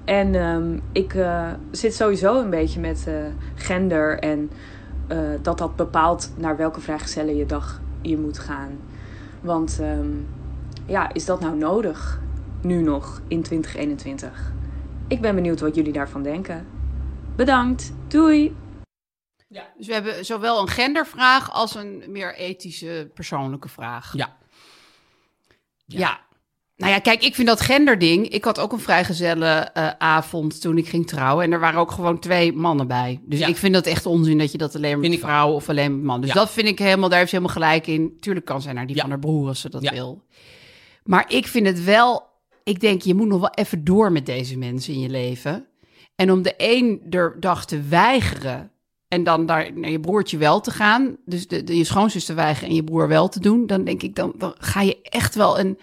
[SPEAKER 3] En ehm, ik eh, zit sowieso een beetje met eh, gender en eh, dat dat bepaalt naar welke vrijgezellen je dag je moet gaan. Want ehm, ja, is dat nou nodig nu nog in 2021? Ik ben benieuwd wat jullie daarvan denken. Bedankt, doei!
[SPEAKER 2] Dus we hebben zowel een gendervraag als een meer ethische persoonlijke vraag.
[SPEAKER 1] Ja.
[SPEAKER 2] Ja. Nou ja, kijk, ik vind dat genderding. Ik had ook een vrijgezellen eh, avond toen ik ging trouwen. En er waren ook gewoon twee mannen bij. Dus
[SPEAKER 1] Ja.
[SPEAKER 2] ik vind dat echt onzin dat je dat alleen maar
[SPEAKER 1] Vind
[SPEAKER 2] met
[SPEAKER 1] ik ook.
[SPEAKER 2] vrouwen of alleen met mannen. Dus
[SPEAKER 1] Ja.
[SPEAKER 2] dat vind ik helemaal, daar heeft ze helemaal gelijk in. Tuurlijk kan zij naar die
[SPEAKER 1] Ja.
[SPEAKER 2] van haar broer als ze dat
[SPEAKER 1] Ja.
[SPEAKER 2] wil. Maar ik vind het wel, ik denk, je moet nog wel even door met deze mensen in je leven. En om de een er dag te weigeren en dan daar naar je broertje wel te gaan, dus de, de- je schoonzus te weigeren en je broer wel te doen, dan denk ik, dan, dan ga je echt wel een.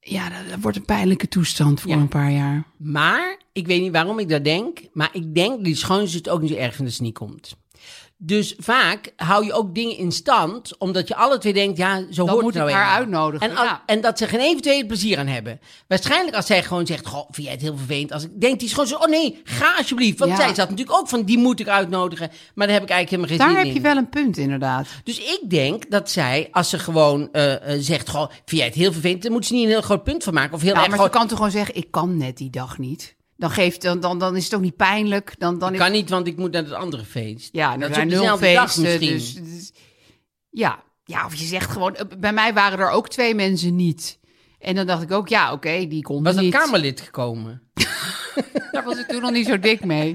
[SPEAKER 2] Ja, dat, dat wordt een pijnlijke toestand voor
[SPEAKER 1] Ja.
[SPEAKER 2] een paar jaar.
[SPEAKER 1] Maar, ik weet niet waarom ik dat denk, maar ik denk dat die schoonzus het ook niet zo erg vindt als het niet komt. Dus vaak hou je ook dingen in stand, omdat je alle twee denkt, ja, zo hoort
[SPEAKER 2] moet
[SPEAKER 1] het nou
[SPEAKER 2] ik haar
[SPEAKER 1] eenmaal.
[SPEAKER 2] uitnodigen,
[SPEAKER 1] En, al-
[SPEAKER 2] ja.
[SPEAKER 1] en dat ze geen eventueel plezier aan hebben. Waarschijnlijk als zij gewoon zegt, goh, vind jij het heel vervelend? Als ik denk, die schoonzus, oh nee, ga alsjeblieft. Want
[SPEAKER 2] Ja.
[SPEAKER 1] zij zat natuurlijk ook van, die moet ik uitnodigen. Maar daar heb ik eigenlijk helemaal geen
[SPEAKER 2] Daar
[SPEAKER 1] zin
[SPEAKER 2] heb
[SPEAKER 1] in.
[SPEAKER 2] je wel een punt, inderdaad.
[SPEAKER 1] Dus ik denk dat zij, als ze gewoon eh, eh, zegt, goh, vind jij het heel vervelend? Dan moet ze niet een heel groot punt van maken. Of heel
[SPEAKER 2] Ja,
[SPEAKER 1] erg
[SPEAKER 2] maar
[SPEAKER 1] groot-
[SPEAKER 2] je kan toch gewoon zeggen: ik kan net die dag niet. Dan, geeft, dan, dan, dan is het ook niet pijnlijk. Dan, dan is-
[SPEAKER 1] Kan niet, want ik moet naar het andere feest.
[SPEAKER 2] Ja,
[SPEAKER 1] dat
[SPEAKER 2] er
[SPEAKER 1] is
[SPEAKER 2] zijn
[SPEAKER 1] op
[SPEAKER 2] nul
[SPEAKER 1] dezelfde dag
[SPEAKER 2] feesten.
[SPEAKER 1] misschien.
[SPEAKER 2] Dus, dus- ja. ja, of je zegt gewoon... eh, Bij mij waren er ook twee mensen niet. En dan dacht ik ook, ja, oké, die kon
[SPEAKER 1] Was dat
[SPEAKER 2] niet.
[SPEAKER 1] Kamerlid gekomen?
[SPEAKER 2] Daar was ik toen nog niet zo dik mee.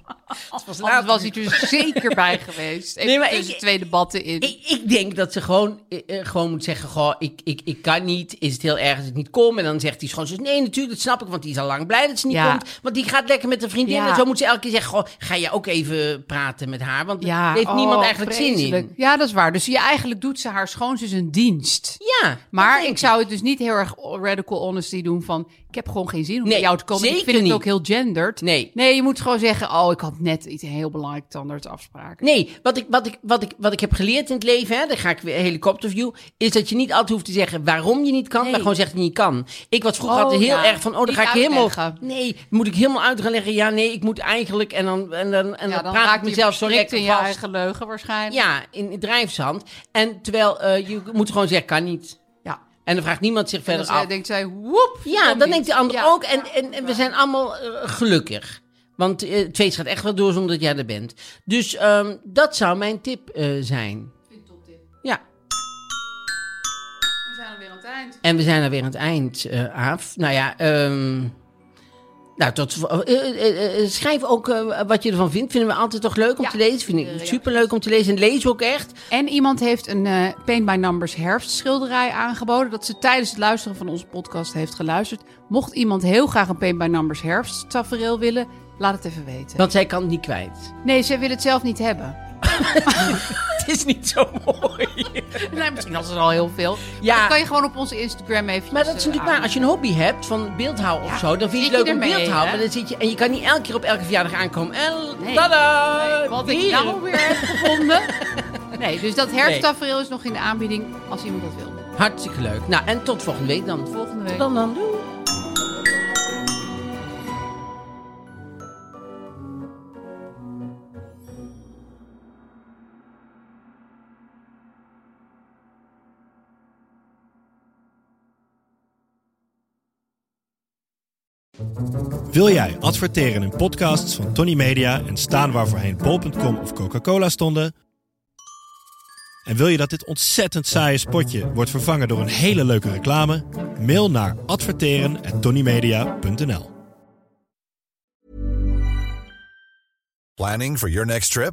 [SPEAKER 1] Het was
[SPEAKER 2] Anders
[SPEAKER 1] later.
[SPEAKER 2] was hij er zeker bij geweest. Even
[SPEAKER 1] Nee, maar
[SPEAKER 2] tussen
[SPEAKER 1] ik-
[SPEAKER 2] twee debatten in.
[SPEAKER 1] Ik, ik denk dat ze gewoon, eh, eh, gewoon moet zeggen: goh, ik, ik, ik kan niet. Is het heel erg als ik niet kom? En dan zegt die schoonzus: nee, natuurlijk, dat snap ik. Want die is al lang blij dat ze niet
[SPEAKER 2] Ja.
[SPEAKER 1] komt. Want die gaat lekker met een vriendin.
[SPEAKER 2] Ja.
[SPEAKER 1] En zo moet ze elke keer zeggen: goh, ga je ook even praten met haar? Want
[SPEAKER 2] ja,
[SPEAKER 1] daar heeft niemand
[SPEAKER 2] oh,
[SPEAKER 1] eigenlijk zin
[SPEAKER 2] vreselijk.
[SPEAKER 1] in.
[SPEAKER 2] Ja, dat is waar. Dus je, eigenlijk doet ze haar schoonzus een dienst.
[SPEAKER 1] Ja, dat
[SPEAKER 2] Maar
[SPEAKER 1] denk
[SPEAKER 2] ik zou het dus niet heel erg radical honesty doen van... ik heb gewoon geen zin om
[SPEAKER 1] Nee,
[SPEAKER 2] bij jou te komen. ik
[SPEAKER 1] zeker
[SPEAKER 2] vind
[SPEAKER 1] niet.
[SPEAKER 2] het ook heel gendered.
[SPEAKER 1] Nee.
[SPEAKER 2] nee, je moet gewoon zeggen... oh, ik had net iets een heel belangrijk tandartsafspraak.
[SPEAKER 1] Nee, wat ik, wat, ik, wat, ik, wat ik heb geleerd in het leven, hè, daar ga ik weer helikopterview, is dat je niet altijd hoeft te zeggen waarom je niet kan, maar gewoon zegt dat je niet kan. Ik was vroeger
[SPEAKER 2] Oh,
[SPEAKER 1] altijd heel
[SPEAKER 2] ja.
[SPEAKER 1] erg van, oh, dan
[SPEAKER 2] Niet
[SPEAKER 1] ga ik helemaal...
[SPEAKER 2] uitleggen.
[SPEAKER 1] Nee, moet ik helemaal uit gaan leggen, ja, nee, ik moet eigenlijk, en dan, en dan, en dan, praat ik
[SPEAKER 2] je
[SPEAKER 1] mezelf zo
[SPEAKER 2] verstrikt
[SPEAKER 1] lekker
[SPEAKER 2] in
[SPEAKER 1] vast.
[SPEAKER 2] je eigen leugen waarschijnlijk.
[SPEAKER 1] Ja, in, in drijfzand. En terwijl eh, je moet gewoon zeggen, kan niet.
[SPEAKER 2] ja.
[SPEAKER 1] En dan vraagt niemand zich
[SPEAKER 2] En
[SPEAKER 1] verder
[SPEAKER 2] dan
[SPEAKER 1] af.
[SPEAKER 2] zei- denkt zij, woep.
[SPEAKER 1] Ja,
[SPEAKER 2] kom
[SPEAKER 1] dan
[SPEAKER 2] niet.
[SPEAKER 1] denkt de ander
[SPEAKER 2] Ja.
[SPEAKER 1] ook. En, en, en we zijn allemaal eh, gelukkig. Want eh Tweets gaat echt wel door zonder dat jij er bent. Dus ehm, dat zou mijn tip eh, zijn. Ja,
[SPEAKER 2] We zijn alweer aan het eind.
[SPEAKER 1] en we zijn er weer aan het eind, eh Aaf. Nou ja, ehm, nou, tot, eh, eh, eh, schrijf ook eh, wat je ervan vindt. Vinden we altijd toch leuk om
[SPEAKER 2] Ja,
[SPEAKER 1] te lezen. Vind ik superleuk om te lezen. En lees ook echt.
[SPEAKER 2] En iemand heeft een eh Paint by Numbers herfstschilderij aangeboden. Dat ze tijdens het luisteren van onze podcast heeft geluisterd. Mocht iemand heel graag een Paint by Numbers herfsttafereel willen, laat het even weten.
[SPEAKER 1] Want zij kan het niet kwijt.
[SPEAKER 2] Nee, zij wil het zelf niet hebben.
[SPEAKER 1] Het is niet zo mooi.
[SPEAKER 2] Nee, misschien was er al heel veel.
[SPEAKER 1] Ja.
[SPEAKER 2] Ja. Dan kan je gewoon op onze Instagram even.
[SPEAKER 1] Maar dat is natuurlijk waar. Als je een hobby hebt van beeldhouw of zo, dan vind je
[SPEAKER 2] zit
[SPEAKER 1] het
[SPEAKER 2] je
[SPEAKER 1] leuk om
[SPEAKER 2] ermee,
[SPEAKER 1] beeldhouw.
[SPEAKER 2] hè?
[SPEAKER 1] Maar dan zit je, en je kan niet elke keer op elke verjaardag aankomen. El,
[SPEAKER 2] Nee.
[SPEAKER 1] tada!
[SPEAKER 2] Wat
[SPEAKER 1] hier.
[SPEAKER 2] ik nou weer heb gevonden. Nee, dus dat herfsttafereel is nog in de aanbieding als iemand dat wil.
[SPEAKER 1] Hartstikke leuk. Nou, en tot volgende week dan.
[SPEAKER 2] Volgende week.
[SPEAKER 1] Dan, dan. Doei.
[SPEAKER 4] Wil jij adverteren in podcasts van Tony Media en staan waar voorheen bol.com of Coca-Cola stonden? En wil je dat dit ontzettend saaie spotje wordt vervangen door een hele leuke reclame? Mail naar adverteren@tonymedia.nl.
[SPEAKER 5] Planning for your next trip?